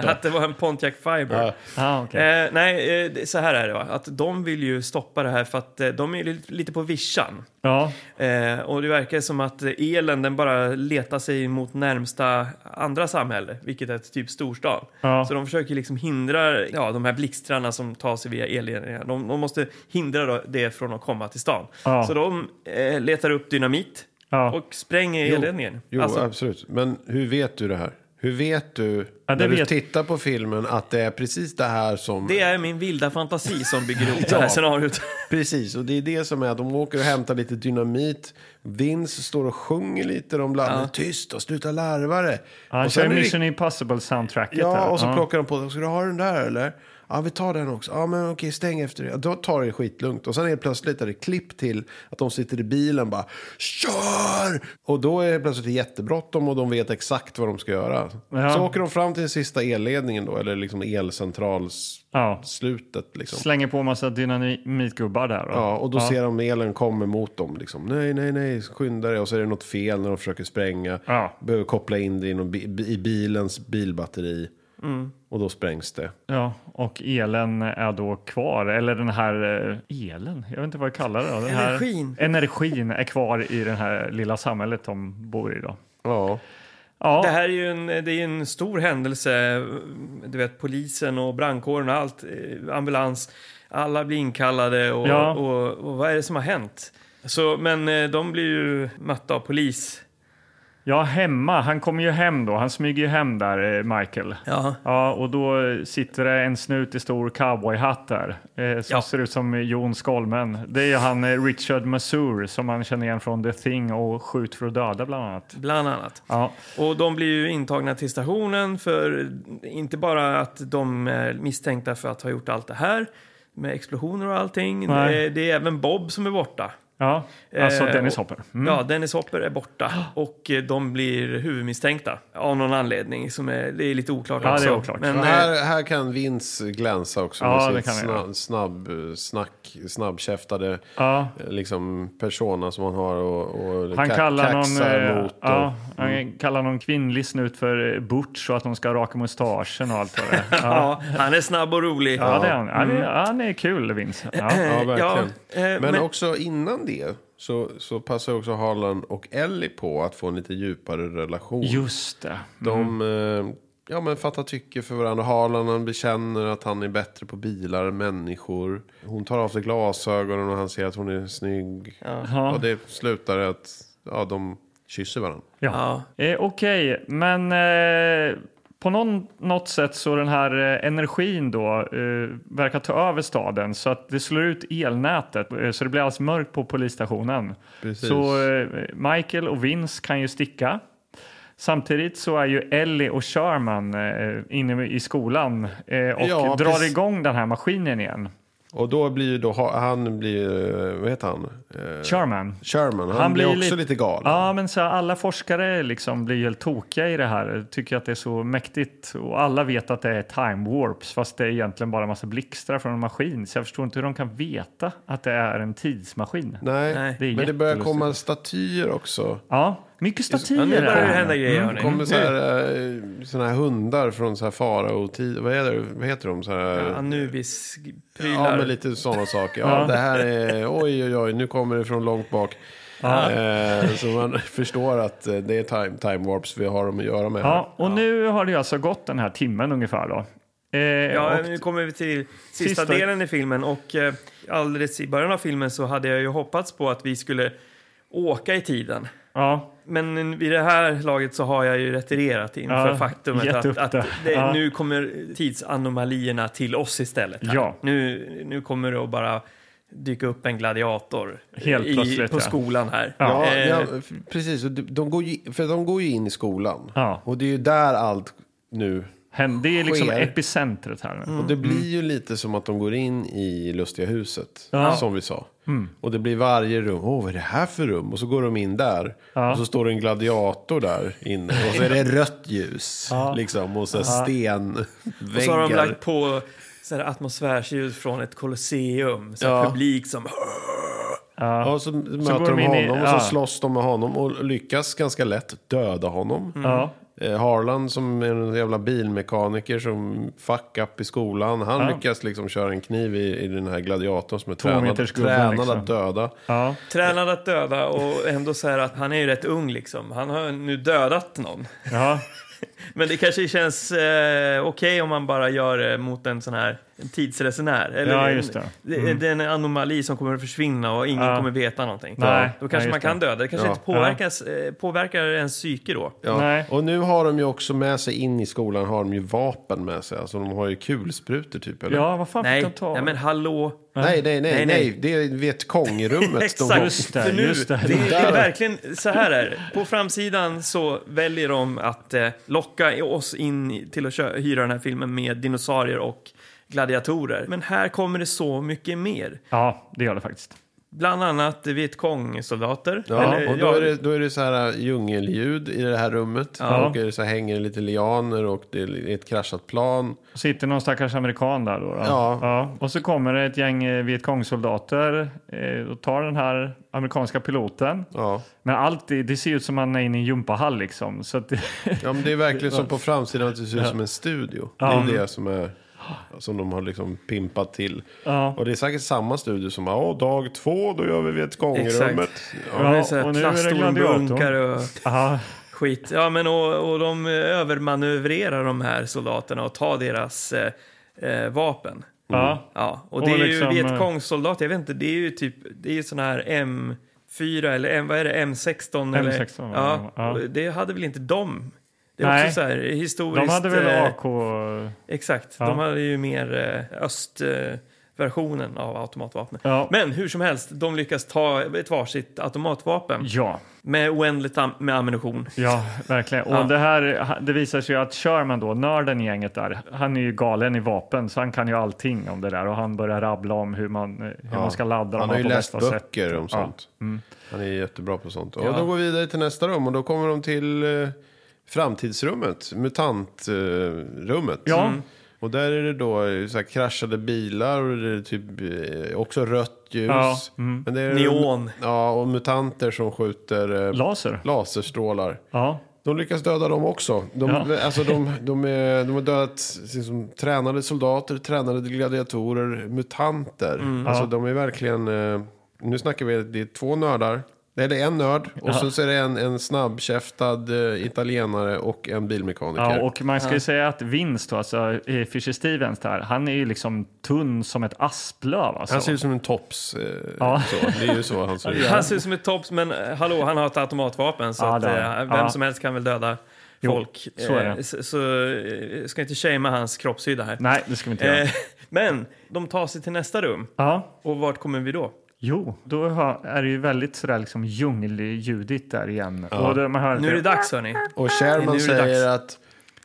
Att det var en Pontiac Fiber.
ah, okej.
Eh, nej, eh, det- så här är det va. Att de vill ju stoppa det här för att eh, de är li- lite på vischan.
Ja,
Eh, och det verkar som att elen den bara letar sig mot närmsta andra samhälle, vilket är typ storstad.
Ja.
Så de försöker liksom hindra ja, de här blixtrarna som tar sig via elledningar. De, de måste hindra då det från att komma till stan.
Ja.
Så de eh, letar upp dynamit
Ja.
och spränger elledningen.
Jo,
Alltså,
absolut. Men hur vet du det här? Hur vet du
Ja, det
när
vet-
du tittar på filmen att det är precis det här som...
det är min vilda fantasi som bygger ihop det här
Ja.
scenariot.
Precis, och det är det som är att de åker och hämtar lite dynamit. Vince står och sjunger lite, de blandar tyst och sluta larva det.
Han
och sen
kör
är det-
Mission Impossible-soundtracket.
Ja,
här.
och så
Ja.
plockar de på den. Ska du ha den där eller? Ja, vi tar den också. Ja, men okej, stäng efter det. Ja, Då tar det skitlugnt. Och sen är det plötsligt är det klipp till att de sitter i bilen bara kör! Och då är det plötsligt jättebråttom och de vet exakt vad de ska göra.
Ja.
Så åker de fram till den sista elledningen då, eller liksom elcentralsslutet
Ja.
liksom.
Slänger på massa dynamitgubbar där.
Ja, och då ser de elen kommer mot dem. Liksom. Nej, nej, nej, skynda dig. Och så är det något fel när de försöker spränga.
Ja.
Behöver koppla in det i, någon bi- bi- i bilens bilbatteri.
Mm.
Och då sprängs det.
Ja, och elen är då kvar. Eller den här eh, elen, jag vet inte vad jag kallar det. Då. Den här,
Energin.
Energin är kvar i det här lilla samhället de bor i. Då.
Ja.
Ja,
Det här är ju en, det är ju en stor händelse. Du vet, polisen och brandkåren och allt, eh, ambulans. Alla blir inkallade och,
Ja.
och, och vad är det som har hänt? Så, men eh, de blir ju mötta av polis.
ja, hemma. Han kommer ju hem då. Han smyger ju hem där, eh, Michael.
Ja.
Ja, och då eh, sitter det en snut i stor cowboyhatt där eh, som
Ja.
ser ut som eh, Jon Skolmen. Det är ju han eh, Richard Masur som man känner igen från The Thing och Skjut för att döda bland annat.
Bland annat.
Ja,
Och de blir ju intagna till stationen för inte bara att de är misstänkta för att ha gjort allt det här med explosioner och allting.
Nej.
Det, det är även Bob som är borta.
ja. alltså
Eh,
Dennis
och-
Hopper.
Ja, Dennis Hopper är borta och eh, de blir huvudmisstänkta av någon anledning. Som är, det är lite oklart
Ja, det är
också.
oklart.
Men,
Men
eh,
här, här kan Vince glänsa också.
Ja,
med
det
sitt
kan han
snabb, snabb eh, snack, snabbkäftade
Ja.
eh, liksom, persona som han har och, och
Han
ka-
kallar, någon,
kaxar
eh,
mot. och-
ja, han kallar någon kvinnlig snut för eh, butch och att hon ska raka mustaschen och allt vad det är. Ja,
ja, han är snabb och rolig.
ja, det är han. Han är, han är kul, Vince. Ja.
Ja, verkligen.
Ja, eh,
men,
men-
också innan det så, så passar också Harlan och Ellie på att få en lite djupare relation.
Just det. Mm.
De eh, ja, men fattar tycke för varandra. Harlan han bekänner att han är bättre på bilar än människor. Hon tar av sig glasögonen och han ser att hon är snygg.
Ja.
Och det slutar att ja, de kysser varandra.
Ja. Eh, Okej, men eh, på någon, något sätt så den här eh, energin då eh, verkar ta över staden så att det slår ut elnätet eh, så det blir alls mörkt på polisstationen.
Precis.
Så eh, Michael och Vince kan ju sticka. Samtidigt så är ju Ellie och Sherman eh, inne i skolan eh, och
Ja,
drar
precis.
igång den här maskinen igen.
Och då blir ju då, ha- han blir ju, vad heter han? Eh,
Sherman.
Sherman, han, blir, också lite, galen.
Ja, men så här, alla forskare liksom blir helt tokiga i det här. Tycker att det är så mäktigt. Och alla vet att det är time warps. Fast det är egentligen bara en massa blixtar från en maskin. Så jag förstår inte hur de kan veta att det är en tidsmaskin.
Nej,
Nej.
Det är
men det börjar
jättelustigt.
komma statyer också.
Ja, mycket
Ja,
statyer.
nu börjar det
här.
hända grejer. hörni.
Det kommer så här,
Mm.
eh, såna här hundar från så här faraotid. Vad, är det- vad heter de? Så här,
Anubis-prylar.
ja, men lite sådana saker. Ja, det här är, oj, oj, oj, nu kommer det från långt bak. Eh, så man förstår att eh, det är time, time warps vi har dem att göra med. här.
Ja, och nu har det ju alltså gått den här timmen ungefär då. Eh,
Ja,
och,
nu kommer vi till sista,
Sista-
delen i filmen och eh, alldeles i början av filmen så hade jag ju hoppats på att vi skulle åka i tiden.
ja,
Men vid det här laget så har jag ju retirerat inför
Ja,
faktumet
gett
att,
upp
att
det.
det,
Ja.
nu kommer tidsanomalierna till oss istället. här.
Ja.
Nu, nu kommer det att bara dyka upp en gladiator
Helt plötsligt,
på
ja.
skolan här.
Ja,
Eh,
ja, f- precis. Och de- De går ju, för de går ju in i skolan.
Ja.
Och det är ju där allt nu
hän- det är liksom
Sker.
epicentret här nu.
Mm.
Och det blir
Mm.
ju lite som att de går in i lustiga huset. Som vi sa.
Mm.
Och det blir varje rum. Åh, vad är det här för rum? Och så går de in där. Och så står det en gladiator där inne. Och så är det rött ljus. Liksom. Och så här stenväggar.
och så har de lagt på så här atmosfärsljud från ett kolosseum. Så här
Ja.
publik som...
Ja, och så möter
går
de
de in i-
honom. Och så
ja.
slåss de med honom. Och lyckas ganska lätt döda honom.
Ja.
Eh, Harlan som är en jävla bilmekaniker som fuck up i skolan. Han lyckas liksom köra en kniv i, i den här gladiatorn som är tränad,
metersgubben,
tränad
liksom.
att döda.
Ja.
Tränad att döda och ändå så här att han är ju rätt ung liksom. Han har nu dödat någon.
Ja.
Men det kanske känns eh, okej om man bara gör det mot en sån här en tidsresenär. Eller
Ja,
en,
just det. Mm.
det är en anomali som kommer att försvinna och ingen
Ja.
kommer veta någonting.
Nej,
Då
nej,
kanske
just
man kan
det.
döda. Det kanske
Ja.
inte påverkas, eh, påverkar ens psyke då.
Ja.
Nej.
Och nu har de ju också med sig in i skolan har de ju vapen med sig. Alltså de har ju kulsprutor typ. Eller?
Ja, vad fan
Nej,
fick de ta?
nej, men hallå.
Nej, nej, nej,
Nej,
nej,
nej.
Det är Vietkong-rummet. de har.
Exakt.
Just det,
För nu,
just det.
det, är- det
Där.
är verkligen så här är det. På framsidan så väljer de att eh, locka oss in i- till att kö- hyra den här filmen med dinosaurier och gladiatorer. Men här kommer det så mycket mer.
Ja, det gör det faktiskt.
Bland annat Vietkong-soldater.
Ja,
Eller,
och då
ja,
är, det, då är det så här äh, djungelljud i det här rummet.
Ja.
Och det så här, hänger det lite lianer och det är ett kraschat plan.
Sitter någon stackars amerikan där då? då.
Ja.
Och så kommer det ett gäng eh, Vietkongsoldater eh, och tar den här amerikanska piloten.
Ja.
Men allt, det, det ser ut som att han är inne i en gympahall liksom. Så att,
ja, men det är verkligen som på framsidan att det ser ut som en studio. Det är det som, är, som de har liksom pimpat till.
Ja.
Och det är säkert samma studio som ja, dag två, då gör vi Vietkong-rummet.
Exakt.
Ja,
det är så här
och nu är det
plastormbunkar och
ja,
skit. Ja, men och, och de eh, övermanövrerar de här soldaterna och tar deras eh, eh, vapen.
Mm.
ja,
Ja, och
Och
det är
liksom,
ju
eh,
Vietkong-soldater, jag vet inte, det är ju typ, det är ju sån här M4 eller M, vad är det, M16? Eller,
M16,
ja,
ja.
och Det hade väl inte de? Det är
Nej.
också så här historiskt.
de hade väl
eh,
AK...
Exakt,
Ja.
de hade ju mer eh, östversionen eh, versionen av automatvapnet.
Ja.
Men hur som helst, de lyckas ta ett varsitt automatvapen
Ja,
med oändligt am- med ammunition.
ja, verkligen. Och
Ja.
det här, det visar sig ju att Sherman då, nörden i gänget där, han är ju galen i vapen så han kan ju allting om det där och han börjar rabbla om hur man, eh, hur man ska ladda dem
Han har ju
på
läst
bästa sätt.
böcker om
Ja. Mm.
sånt. Han är jättebra på sånt. Och då går vi vidare till nästa rum och då kommer de till eh, framtidsrummet, mutantrummet.
Ja. Mm.
Och där är det då eh, så här, kraschade bilar och det är typ eh, också rött ljus.
Ja,
Men det är
Neon.
Ja, och mutanter som skjuter eh,
Laser?
laserstrålar.
Ja.
De lyckas döda dem också. De,
Ja.
alltså de, de, är, de har dödat liksom, tränade soldater, tränade gladiatorer, mutanter.
Mm.
Alltså de är verkligen... eh, Nu snackar vi, det är två nördar. Nej, det är en nörd och sen så är det en, en snabbkäftad eh, italienare och en bilmekaniker.
Ja, och man ska ju säga att Vince då, alltså eh, Fisher Stevens där, han är ju liksom tunn som ett asplöv alltså.
Han ser ut som en tops. eh,
Ja.
Så. Det är ju så han ser ut.
Han ser ut som ett tops, men eh, hallå, han har ett automatvapen så
Ja,
att,
det har
eh,
han.
vem
Ja.
som helst kan väl döda
Jo,
folk.
så är det.
Eh, Så, så eh, ska inte shamea hans kroppshydda här.
Nej, det ska vi inte göra.
Eh, Men de tar sig till nästa rum.
Ja.
Och vart kommer vi då?
Jo, då hör- är det ju väldigt sådär liksom djungeljudigt där igen. Och då man hör
Nu är det dags hörni.
Och
Nu är
Sherman
det
säger att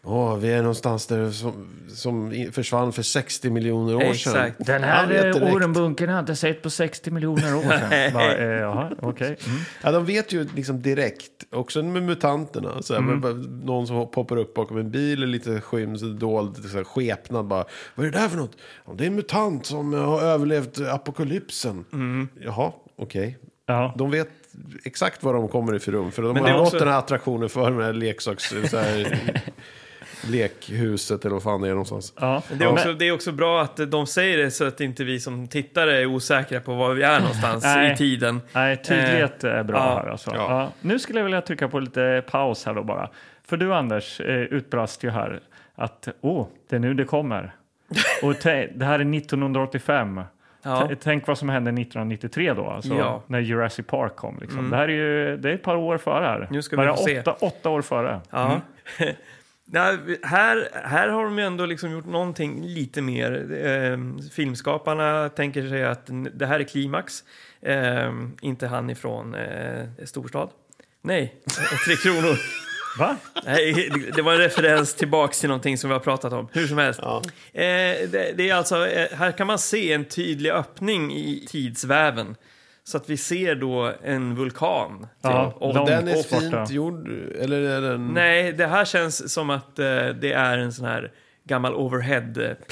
Åh, vi är någonstans där som, som i- försvann för 60 miljoner år sedan.
Exakt.
Den
Han vet direkt.
eh, ormbunken har jag inte sett på 60 miljoner år sedan. Bara, eh, Jaha, okej. Mm.
Ja, de vet ju liksom direkt, också med mutanterna. Så här,
Mm.
bara- Någon som poppar upp bakom en bil, är lite skyms, dold, så här, skepnad bara. Vad är det där för något? Ja, det är en mutant som har överlevt apokalypsen.
Mm.
Jaha, okej.
Ja.
De vet exakt var de kommer i för rum. För de
det
har
är
gått
också-
den här attraktionen för med det här leksaks... Så här, lekhuset eller vad fan det är någonstans.
Ja.
Det är, också, det är också bra att de säger det så att inte vi som tittare är osäkra på var vi är någonstans
Nej.
i tiden. Eh,
Nej, tydlighet är bra
ja,
här alltså. Ja.
ja.
Nu skulle jag vilja trycka på lite paus här då bara. För du Anders eh, utbrast ju här att åh, det är nu det kommer. Och te- det här är 1985.
Ja.
T- Tänk vad som hände 1993 då, alltså,
Ja. Mm.
när Jurassic Park kom. Liksom. Det här är ju det är ett par år före här.
Nu ska
Bara
vi få se.
åtta, åtta år före.
Ja.
Mm.
Nej, här, här har de ju ändå liksom gjort någonting lite mer. Ehm, filmskaparna tänker sig att n- det här är klimax. Ehm, inte han ifrån eh, storstad. Nej, Tre Kronor.
Va?
Nej, det var en referens tillbaks till någonting som vi har pratat om. Hur som helst. Eh, det, det är alltså, eh, här kan man se en tydlig öppning i tidsväven. Så att vi ser då en vulkan. typ.
Ja,
och
långt
Den är
bort
fint
borta.
gjord, eller är den...
Nej, det här känns som att eh, det är en sån här gammal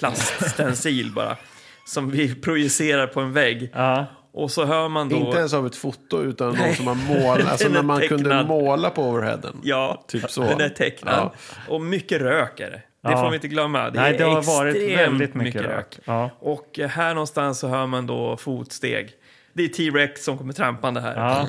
overhead-plaststencil bara. Som vi projicerar på en vägg.
Ja.
Och så hör man då...
Inte ens av ett foto utan någon som har målat. Alltså
Den är
när man kunde
tecknad.
måla på overheaden.
Ja,
Typ så.
den är tecknad.
Ja.
Och mycket rök är det. Det
Ja.
får vi inte glömma. Det,
Nej,
är
det har
extremt
varit väldigt mycket rök. Ja.
Och eh, här någonstans så hör man då fotsteg. Det är T-Rex som kommer trampande här.
Ja.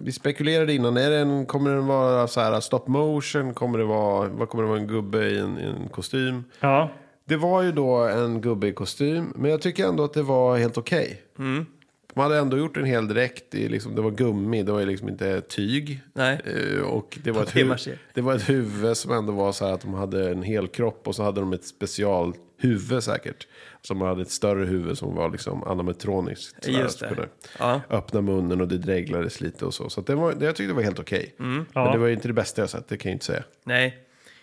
Vi spekulerade innan, är den, kommer den vara så här stop motion? Kommer det vara, vad kommer det vara en gubbe i en, i en kostym?
Ja,
Det var ju då en gubbe i kostym, men jag tycker ändå att det var helt okej. De hade ändå gjort en hel dräkt, i liksom, det var gummi, det var ju liksom inte tyg.
Nej.
Eh, Och det var, ett
Papier-mâché.
huvud, det var ett huvud som ändå var så här att de hade en hel kropp och så hade de ett special huvud säkert. Som hade ett större huvud som var liksom animatroniskt. Så här,
Just
så
det.
kunde
Ja.
Öppna munnen och det dreglades lite och så. Så att det var, det, jag tyckte det var helt okej. Men
Ja.
det var ju inte det bästa jag sett, det kan jag ju inte säga.
Nej.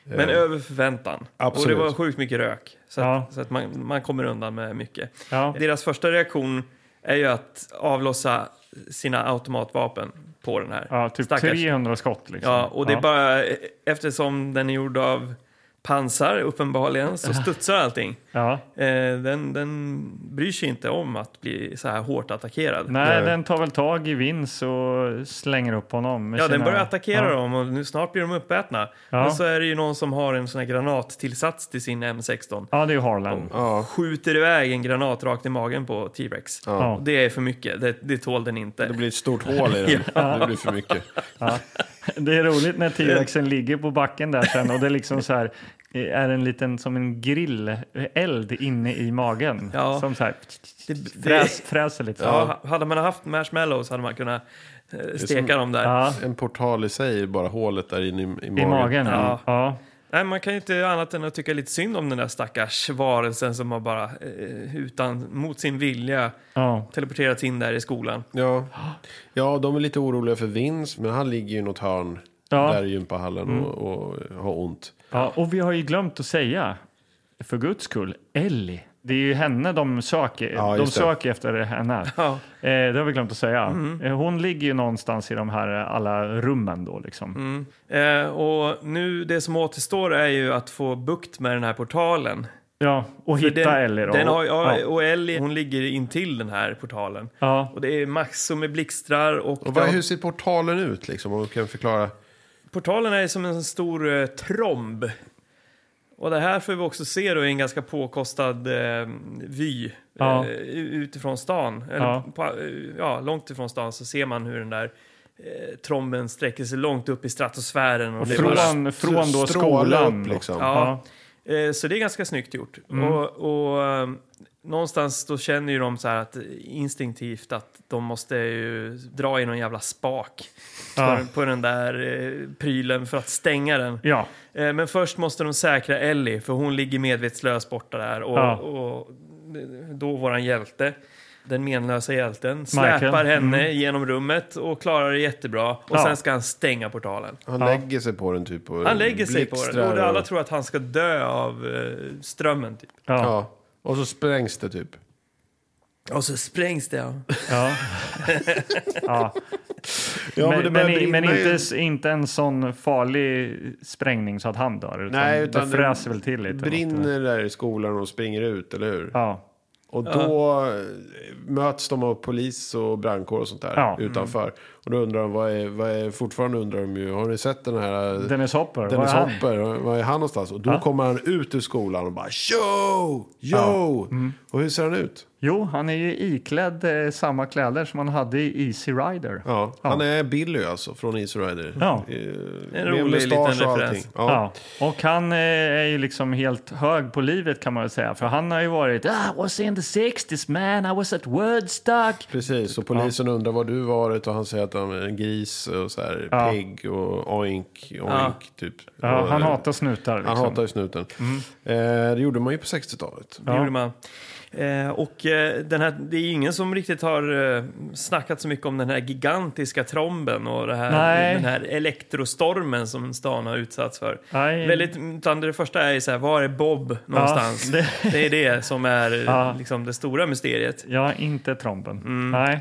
Men över förväntan. Och
absolut.
det var sjukt mycket rök. Så,
Eh. Ja.
att, så att man, man kommer undan med mycket.
Ja.
Deras första reaktion är ju att avlossa sina automatvapen på den här.
ja typ
Stackars.
300 skott liksom.
Ja, och det är bara eftersom den är gjord av pansar uppenbarligen så studsar allting.
Ja.
Eh, den, den bryr sig inte om att bli så här hårt attackerad.
Nej, den tar väl tag i Vince och slänger upp honom. med
Ja, den
sina-
börjar attackera
Ja.
dem och nu snart blir de uppätna.
Ja.
Men så är det ju någon som har en sån här granattillsats till sin M16.
Ja, det är ju Harlan.
Skjuter iväg en granat rakt i magen på T-Rex.
Ja.
Och Det är för mycket, det, det tål den inte.
Det blir ett stort hål i den, det blir för mycket.
Det är roligt när T-rexen ligger på backen där sen och det är liksom så här eh, är en liten som en grilleld inne i magen.
Ja.
Som så här
Det-
fräs, fräser lite.
Ja, hade man haft marshmallows hade man kunnat eh, steka dem där.
Ja,
En portal i sig är bara hålet där inne i, i magen.
I magen.
Ja.
Ja.
Nej, man kan ju inte annat än att tycka lite synd om den där stackars varelsen som har bara eh, utan, mot sin vilja
Ja.
teleporterats in där i skolan.
Ja. ja, de är lite oroliga för Vince, men han ligger ju i något hörn
Ja. Mm.
där i gympahallen och, och har ont.
Ja, och vi har ju glömt att säga, för guds skull, Ellie. Det är ju henne de söker,
Ja,
de
just det.
söker efter henne.
Ja. Mm.
Eh, det har vi glömt att säga. Eh, Hon ligger ju någonstans i de här eh, alla rummen då liksom.
Eh, och nu det som återstår är ju att få bukt med den här portalen.
Ja, och
För
hitta
den,
Ellie då.
Den har, ja,
ja.
Och Ellie hon ligger intill den här portalen.
Ja.
Och det är massor med blixtrar och,
Och vad,
det-
hur ser portalen ut liksom? Om du kan förklara.
portalen är som en stor eh, tromb. Och det här får vi också se då i en ganska påkostad eh, vy
Ja.
eh, utifrån stan. Eller,
Ja.
På, eh, ja, långt ifrån stan så ser man hur den där eh, tromben sträcker sig långt upp i stratosfären. Och, det är bara-
Från, från då
Stråla
skolan.
Upp, liksom.
Ja. Eh, Så det är ganska snyggt gjort.
Mm.
Och, och eh, någonstans då känner ju de så här att instinktivt att de måste ju dra i någon jävla spak
Ja.
på- på den där eh, prylen för att stänga den.
Ja,
Eh, Men först måste de säkra Ellie för hon ligger medvetslös borta där och,
Ja.
och då våran hjälte den menlösa hjälten släpar
Michael.
henne genom rummet och klarar det jättebra. Och
Mm. Ja.
sen ska han stänga portalen.
Han lägger sig på den typ. Och
Han lägger sig på
blixtrar
den och alla
och-
tror att han ska dö av eh, strömmen. Typ.
ja,
Ja. Och så sprängs det typ.
Och så sprängs det. ja.
ja.
Ja,
Men, men, i-
brinna
men
ju.
inte, inte en sån farlig sprängning så att han dör. Utan
Nej, utan
det fräser väl till lite. eh.
brinner där i skolan och springer ut, eller hur?
Ja.
Och då eh, möts de av polis och brandkår och sånt där
Ja.
utanför. Och då undrar de, vad är, vad är, fortfarande undrar de ju, har ni sett den här eh,
Dennis Hopper,
Dennis
var är han?
Hopper, var är han någonstans? Och då kommer han ut ur skolan och bara, yo, yo! Och hur ser han ut?
Jo, han är ju iklädd eh, samma kläder som han hade i Easy Rider.
Ja, han är Billy alltså, från Easy Rider.
Ja.
Eh,
En
med
rolig
mustasch
liten
och allting.
referens.
Ja.
Ja. Och han eh, är ju liksom helt hög på livet kan man väl säga. För han har ju varit "Ah, I was in the 60s man, I was at Woodstock.
Precis, och polisen undrar var du varit och han säger att han är en gris och så här pigg och oink, oink typ.
Ja,
Och,
han
eh,
hatar snutar. Liksom.
Han hatar ju snuten. Eh, det gjorde man ju på 60-talet.
Det gjorde man. Eh, och eh, den här, det är ju ingen som riktigt har eh, snackat så mycket om den här gigantiska tromben och det här,
Nej.
den här elektrostormen som stan har utsatts för.
Nej.
Väldigt, utan det första är ju så här, var är Bob någonstans?
det-
det... är det som är eh, liksom, det stora mysteriet.
Ja, inte tromben.
Mm.
Nej.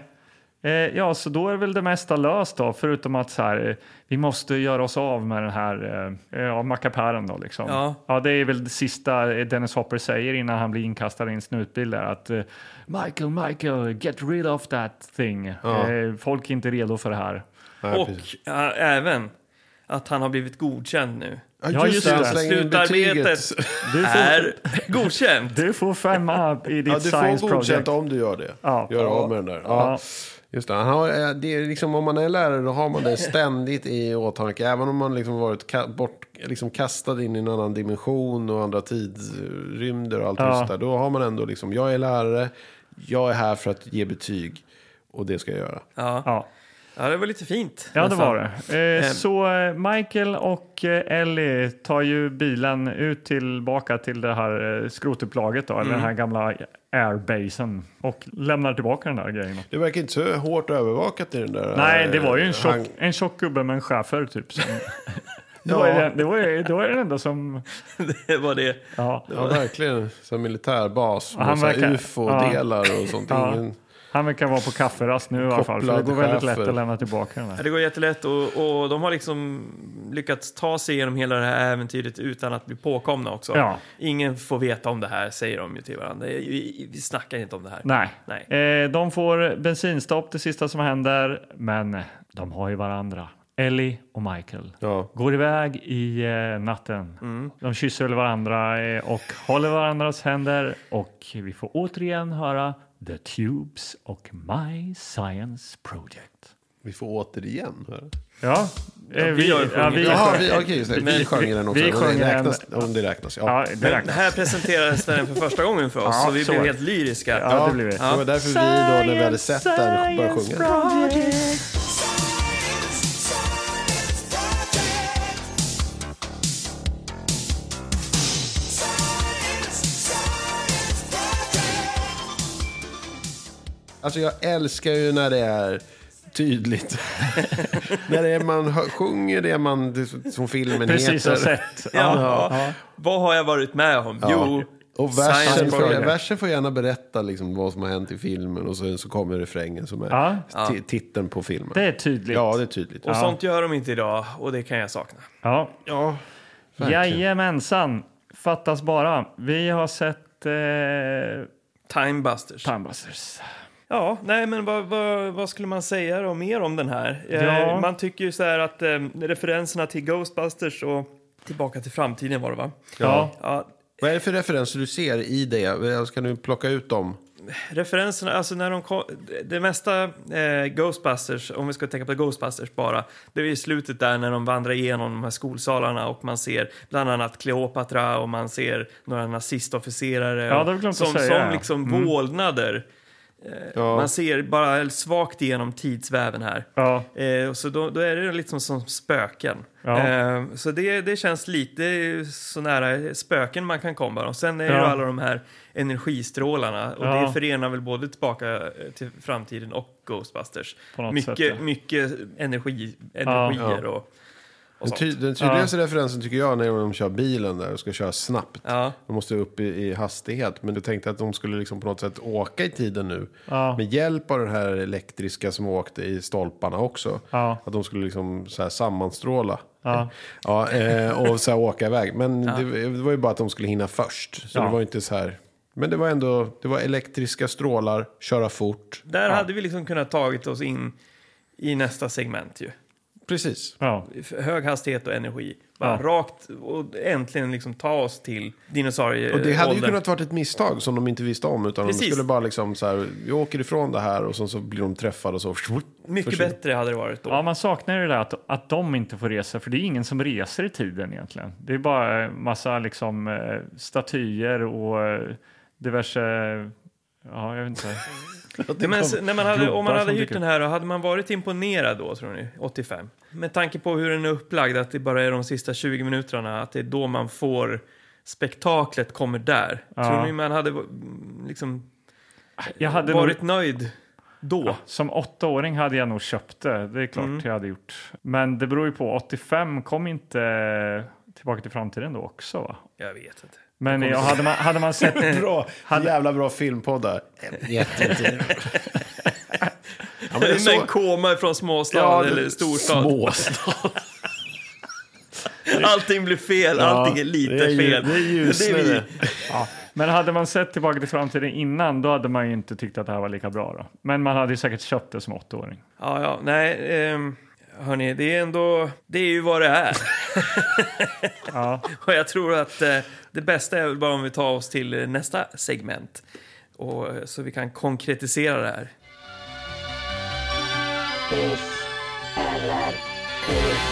Eh, ja, så då är väl det mesta löst då, förutom att så här, eh, vi måste göra oss av med den här eh, ja, mackapären då liksom.
Ja.
det är väl det sista eh, Dennis Hopper säger innan han blir inkastad i en snutbil där att eh, Michael, Michael, get rid of that thing. Eh, folk är inte redo för det här.
Ja,
och
precis.
eh, även att han har blivit godkänd nu.
Ja, just det.
han slänger in
Slutarbetet
betyget.
Du får,
är godkänt.
du får femma i ditt
Äh. Ja, du
science
får godkänt
project.
om du gör det.
Ja.
Gör
Ja.
av med den där. Ja. Just det. Han har, eh, det är liksom, om man är lärare då har man det ständigt i åtanke. Även om man liksom varit ka- bort, liksom kastad in i en annan dimension och andra tidsrymder och allt
Ja.
just där. Då har man ändå liksom, jag är lärare, jag är här för att ge betyg. Och det ska jag göra.
Ja.
Ja.
ja, det var lite fint.
Ja, det
nästan.
var det. Eh, så eh, Michael och eh, Ellie tar ju bilen ut tillbaka till det här eh, skrotupplaget, då, eller
Mm.
den här gamla airbasen, och lämnar tillbaka den där grejen.
Det verkar inte så hårt övervakat i den där.
Nej, det var ju
eh,
en tjock,
hang-
en tjock gubbe med en schäfer, typ. Som, det, var ju
Ja.
den, det, var ju, det var ju den enda som...
det var det.
Ja,
Ja, verkligen. Så här militärbas.
han
Med så här
verkar-
UFO-delar och sånt.
Ja.
Ingen,
han verkar vara på kafferast nu i alla fall, för det
Kopplad
går väldigt
schäfer.
lätt att lämna tillbaka den där.
Ja, det går jättelätt och, och de har liksom lyckats ta sig igenom hela det här äventyret utan att bli påkomna också.
Ja.
Ingen får veta om det här, säger de ju till varandra. Vi, vi snackar inte om det här.
Nej.
Nej.
Eh, de får bensinstopp det sista som händer, men de har ju varandra. Ellie och Michael
ja.
går iväg i eh, natten.
Mm.
De kysser väl varandra eh, och håller varandras händer och vi får återigen höra The Tubes och My Science Project.
Vi får återigen.
Ja, eh,
vi har ju
ja, vi,
sjungit.
Jaha, vi, okej, just det. vi sjöng den också.
vi
Men
sjöng
det
den-
räknas, Om det räknas, ja.
ja, det
Det
räknas.
här presenterades den för första gången för oss,
Ja,
så vi
så
blev
är det.
helt lyriska.
Ja, det blir vi.
Det var därför vi då, när vi hade sett den, började sjunga. Alltså jag älskar ju när det är tydligt. när det är man hö- sjunger det man, det som filmen
Precis
heter.
har sett.
Ja. Vad har jag varit med om? Jo,
Och
Science
versen får,
Project.
versen får gärna berätta liksom vad som har hänt i filmen och sen så kommer refrängen som är
Ja.
ti- titeln på filmen.
Det är tydligt.
Ja, det är tydligt.
och sånt gör de inte idag och det kan jag sakna.
Ja.
Ja,
Jajamensan, fattas bara. Vi har sett eh,
Timebusters.
Timebusters.
Ja, nej men vad, vad, vad skulle man säga då mer om den här? Eh,
Ja.
Man tycker ju så här att eh, referenserna till Ghostbusters och Tillbaka till framtiden var det va?
Ja.
Ja,
Vad är det för referenser du ser i det? Jag ska nu plocka ut dem.
referenserna, alltså när de kom, det mesta eh, Ghostbusters, om vi ska tänka på Ghostbusters bara, det är i slutet där när de vandrar igenom de här skolsalarna och man ser bland annat Kleopatra och man ser några nazistofficerare
Ja, det har vi glömt
som,
att säga, Mm.
som
ja.
liksom vålnader. Eh,
Ja.
Man ser bara svagt igenom tidsväven här.
Ja.
Eh, och så då, då är det liksom som spöken.
Ja.
Eh, så det, det känns lite så nära spöken man kan komma. Och sen är det ju
Ja.
alla de här energistrålarna. Och
Ja.
det förenar väl både Tillbaka eh, till framtiden och Ghostbusters.
På något
mycket,
sätt, ja.
mycket energi, energier
Ja.
och, och
Den,
sånt.
ty den tydligaste referensen tycker jag när de kör bilen där och ska köra snabbt.
Ja.
De måste upp i, i hastighet. Men jag tänkte att de skulle liksom på något sätt åka i tiden nu.
Ja.
Med hjälp av den här elektriska som åkte i stolparna också.
Ja.
Att de skulle liksom så här sammanstråla.
Ja.
Ja, eh, och så här åka iväg. Men det, det var ju bara att de skulle hinna först. Så
Ja.
det var ju inte så här. Men det var ändå, det var elektriska strålar, köra fort.
Där hade vi liksom kunnat tagit oss in i nästa segment ju.
Precis.
Ja.
F- Hög hastighet och energi. Bara
Ja.
rakt och äntligen liksom ta oss till dinosaurieåldern.
Och det hade ju kunnat varit ett misstag som de inte visste om. Utan
Eh, Precis.
de skulle bara liksom så här, vi åker ifrån det här och sen så blir de träffade och så.
Mycket
försvinner.
bättre hade det varit då.
ja, man saknar ju det där att, att de inte får resa, för det är ingen som reser i tiden egentligen. Det är bara en massa liksom, eh, statyer och eh, diverse... Ja, jag vet inte.
Nej, men, så- när man hade, om man
Blobbar
hade
som
hyrt
dyker
den här, då hade man varit imponerad då, tror ni? 85? Med tanke på hur den är upplagd, att det bara är de sista 20 minuterna, att det är då man får spektaklet kommer där.
Ja.
Tror ni man hade mm, liksom,
Jag hade nog,
varit nöjd då?
som åttaåring hade jag nog köpt det, det är klart jag hade gjort. Men det beror ju på, 85 kom inte Tillbaka till framtiden då också va?
Jag vet inte.
Men jag, hade, man, hade man sett...
Bra, jävla bra filmpodd där. Jättetur. ja, men det är
Men en
så.
koma från småstad
Ja,
eller storstad.
Småstad.
Allting blir fel, allting är lite
det är ju-
fel.
det är ljusare.
vi.
Ja, men hade man sett Tillbaka till framtiden innan då hade man ju inte tyckt att det här var lika bra. Då. Men man hade ju säkert köpt det som åttaåring.
Ja, ja, nej, ehm, hörni, det är ändå, det är ju vad det är.
Ja,
Och jag tror att eh, det bästa är väl bara om vi tar oss till eh, nästa segment. Och, eh, så vi kan konkretisera det här.
Peace. I love peace.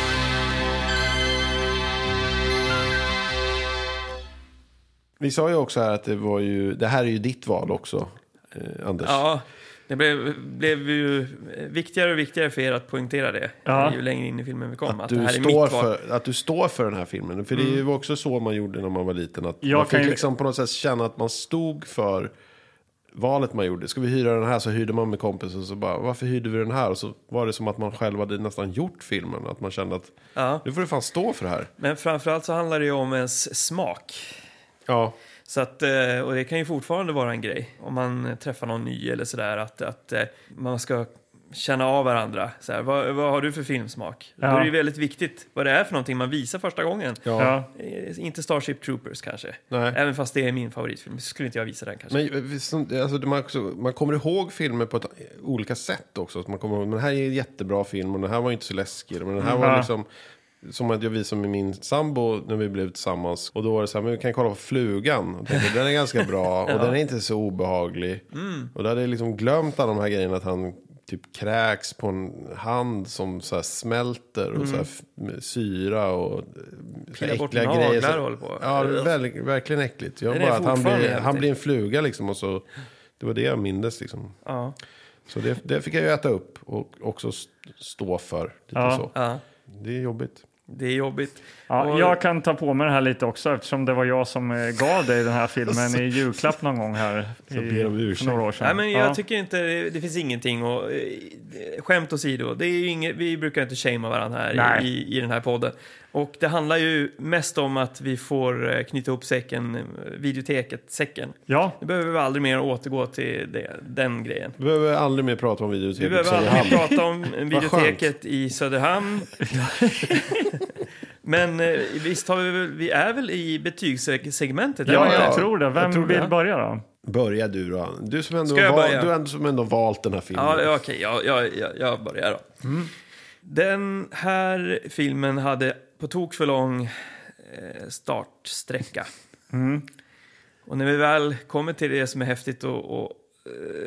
Vi sa ju också här att det var ju, det här är ju ditt val också, eh, Anders.
Ja, det blev, blev ju eh, viktigare och viktigare för er att poängtera det
Ja.
ju längre in i filmen vi kom. Att,
att, du
det här är mitt
står
val. Mm.
för, att du står för den här filmen. För det var också så man gjorde när man var liten. Att
Jag
man fick
kan ju-
liksom på något sätt känna att man stod för valet man gjorde. Ska vi hyra den här? Så hyrde man med kompisen. Så bara, varför hyrde vi den här? Och så var det som att man själv hade nästan gjort filmen. Att man kände att
Ja.
nu får du fan stå för det här.
Men framförallt så handlar det ju om ens smak.
Ja,
Så att, eh, och det kan ju fortfarande vara en grej om man träffar någon ny eller sådär att, att eh, man ska känna av varandra. Så här, vad, vad har du för filmsmak? Då
Ja.
är det ju väldigt viktigt vad det är för någonting man visar första gången.
ja.
Ja.
Eh, Inte Starship Troopers kanske.
Nej.
Även fast det är min favoritfilm skulle inte jag visa den kanske.
Men eh, visst, alltså, det- man, också, man kommer ihåg filmer på ett, eh, olika sätt också. Att Man kommer ihåg, men den här är en jättebra film och den här var inte så läskig. Men den här var
Mm.
Ja.
liksom... Som att jag visade med min sambo när vi blev tillsammans. Och då var det så här, men vi kan kolla på Flugan. Och tänkte, den är ganska bra och den är inte så obehaglig.
Mm.
Och då hade jag liksom glömt alla de här grejerna. Att han typ kräks på en hand som så här smälter. Och så här f- med syra och eh, så här
Mm. bort
äckliga
naglar
grejer.
och håller på.
Ja, det är verk- verkligen äckligt. Jag
Den är
bara att han
fortfarande
blir,
jävligt
han blir en fluga liksom och så. Det var det jag mindes liksom.
Ja.
Så det, det fick jag ju äta upp och också st- stå för. Lite
Ja.
så.
Ja,
Det är jobbigt.
det är jobbigt.
Ja,
Och-
jag kan ta på mig det här lite också eftersom det var jag som eh, gav dig den här filmen i julklapp någon gång här i,
ber om ursäkt.
för några år sedan.
Nej, men jag
ja.
tycker inte det, det finns ingenting och eh, skämt åsido, det är ju inget, vi brukar inte shamea varandra här
Nej.
i, i, i den här podden. Och det handlar ju mest om att vi får eh, knyta ihop säcken, eh, videoteket, säcken.
ja,
Nu behöver vi aldrig mer återgå till det, den grejen.
Mm.
Vi behöver aldrig mer prata om
Vi
videoteket.
behöver
säger
aldrig
han.
prata om videoteket i Söderhamn. Men eh, visst har vi väl, vi är väl i betygssegmentet? eller?
ja,
ja.
jag tror det. Vem
Jag tror det.
vill börja då?
Börja du då. Du som ändå,
Ska jag
val,
börja?
du ändå, som ändå valt den här filmen.
Ja, ja, okej, jag, jag, jag, jag börjar då. Den här filmen hade på tok för lång eh, startsträcka. Och när vi väl kommer till det som är häftigt och, och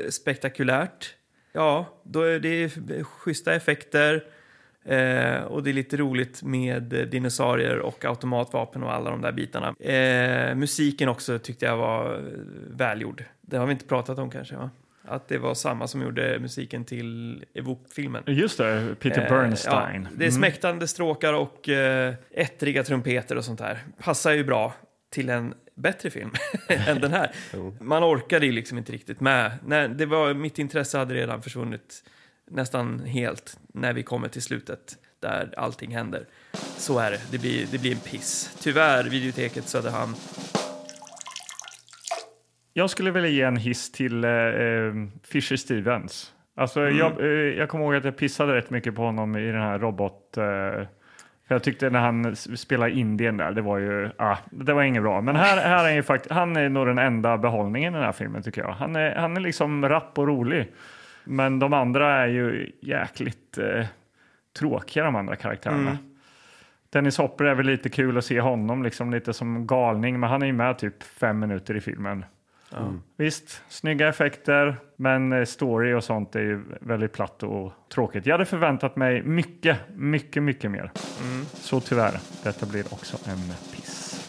eh, spektakulärt, ja, då är det schyssta effekter eh, och det är lite roligt med eh, dinosaurier och automatvapen och alla de där bitarna. Eh, musiken också tyckte jag var eh, välgjord. Det har vi inte pratat om kanske, va? Att det var samma som gjorde musiken till Evoke-filmen.
Just det, Peter
Eh,
Bernstein.
ja, det är smäktande stråkar och eh, ettriga trumpeter och sånt där. Passar ju bra till en bättre film än den här. Man orkade ju liksom inte riktigt med. Nej, det var, mitt intresse hade redan försvunnit nästan helt när vi kommer till slutet där allting händer. Så är det, det blir, det blir en piss. Tyvärr, videoteket Söderhamn.
Jag skulle vilja ge en hiss till eh, eh, Fisher Stevens. Alltså, jag, eh, jag kommer ihåg att jag pissade rätt mycket på honom i den här robot... Eh, för jag tyckte när han s- spelade Indien där, det var ju... Ah, det var inget bra. Men här, här är ju fakt- han är nog den enda behållningen i den här filmen tycker jag. Han är, han är liksom rapp och rolig. Men de andra är ju jäkligt eh, tråkiga, de andra karaktärerna. Dennis Hopper är väl lite kul att se honom, liksom lite som galning, men han är ju med typ fem minuter i filmen. Visst, snygga effekter, men eh, story och sånt är ju väldigt platt och tråkigt. Jag hade förväntat mig mycket, mycket, mycket mer. Så tyvärr, detta blir också en piss.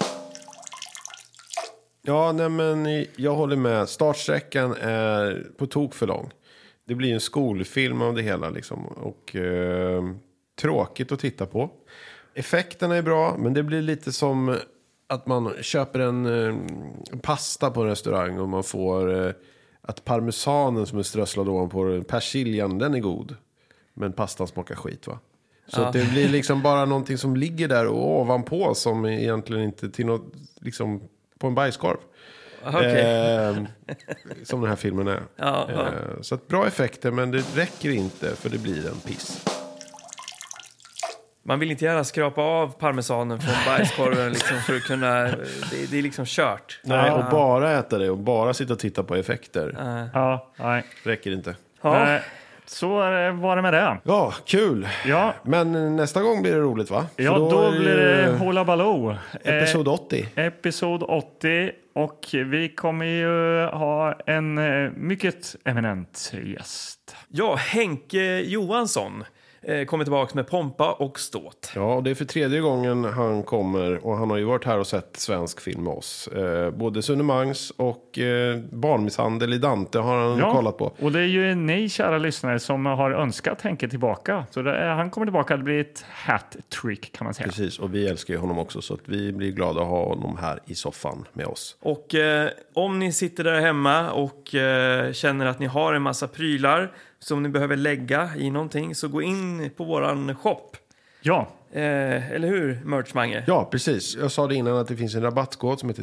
Ja, nej men jag håller med. Startsträckan är på tok för lång. Det blir en skolfilm av det hela liksom. Och eh, tråkigt att titta på. Effekterna är bra, men det blir lite som att man köper en eh, pasta på en restaurang och man får eh, att parmesanen som är strösslad ovanpå den, persiljan, den är god. Men pastan smakar skit va? Så att det blir liksom bara någonting som ligger där och ovanpå som egentligen inte till något, liksom på en bajskorv.
Okej.
Eh, som den här filmen är.
Ja, ja.
Eh, så att bra effekter men det räcker inte för det blir en piss.
Man vill inte gärna skrapa av parmesanen från bajskorven liksom för att kunna... Det, det är liksom kört.
Nej,
Ah.
och bara äta det och bara sitta och titta på effekter
Ja, nej.
räcker inte.
Ja.
Nej. Så eh, var det med det.
Ja, kul.
Ja,
Men nästa gång blir det roligt va? För
ja då,
är ju
blir det Hoola Baloo.
Episod 80.
Eh, episod 80. Och vi kommer ju ha en eh, mycket eminent gäst.
Ja, Henke Johansson eh, kommer tillbaka med pompa och ståt.
Ja, och det är för tredje gången han kommer och han har ju varit här och sett svensk film med oss. Eh, både Sunemangs och eh, Barnmisshandel i Dante har han kollat på.
Och det är ju ni kära lyssnare som har önskat Henke tillbaka. Så det är, han kommer tillbaka, det blir ett hat-trick kan man säga.
Precis, och vi älskar ju honom också så att vi blir glada att ha honom här i soffan med oss.
Och eh, om ni sitter där hemma och eh, känner att ni har en massa prylar som ni behöver lägga i någonting så gå in på våran shop.
Ja,
Eh, eller hur, Merchmange?
Ja, precis. Jag sa det innan att det finns en rabattkod som heter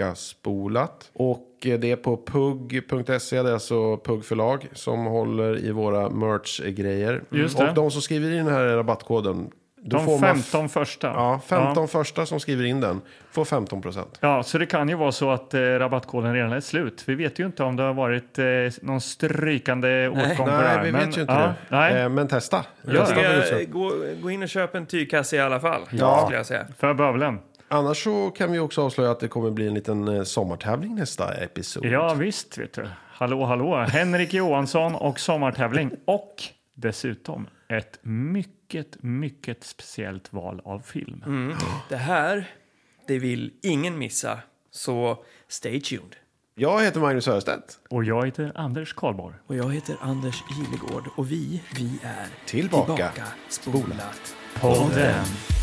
Tillbakaspolat. Och eh, det är på pugg.se, det är alltså Pugg förlag som håller i våra merch-grejer. Mm.
Just det.
Och de som skriver i den här rabattkoden, då
de
får man...
15 första.
Ja, 15
Ja.
första som skriver in den får 15 procent.
Ja, så det kan ju vara så att eh, rabattkoden redan är slut. Vi vet ju inte om det har varit eh, någon strykande åtgång på det
Nej,
här.
vi
men-
vet ju inte
ja,
det.
Nej,
Eh, Men testa.
Jag
testa
tycker,
för tusan.
eh, gå, gå in och köp en tygkasse i alla fall.
Ja.
Skulle jag säga.
för bövelen.
Annars så kan vi också avslöja att det kommer bli en liten eh, sommartävling nästa episod.
Ja, visst vet du. Hallå, hallå. Henrik Johansson och sommartävling. Och dessutom ett mycket, mycket speciellt val av film.
Det här, det vill ingen missa. Så stay tuned.
Jag heter Magnus Örestedt.
Och jag heter Anders Karlborg.
Och jag heter Anders Gilegård och vi, vi är
Tillbaka.
Spolat.
Podden.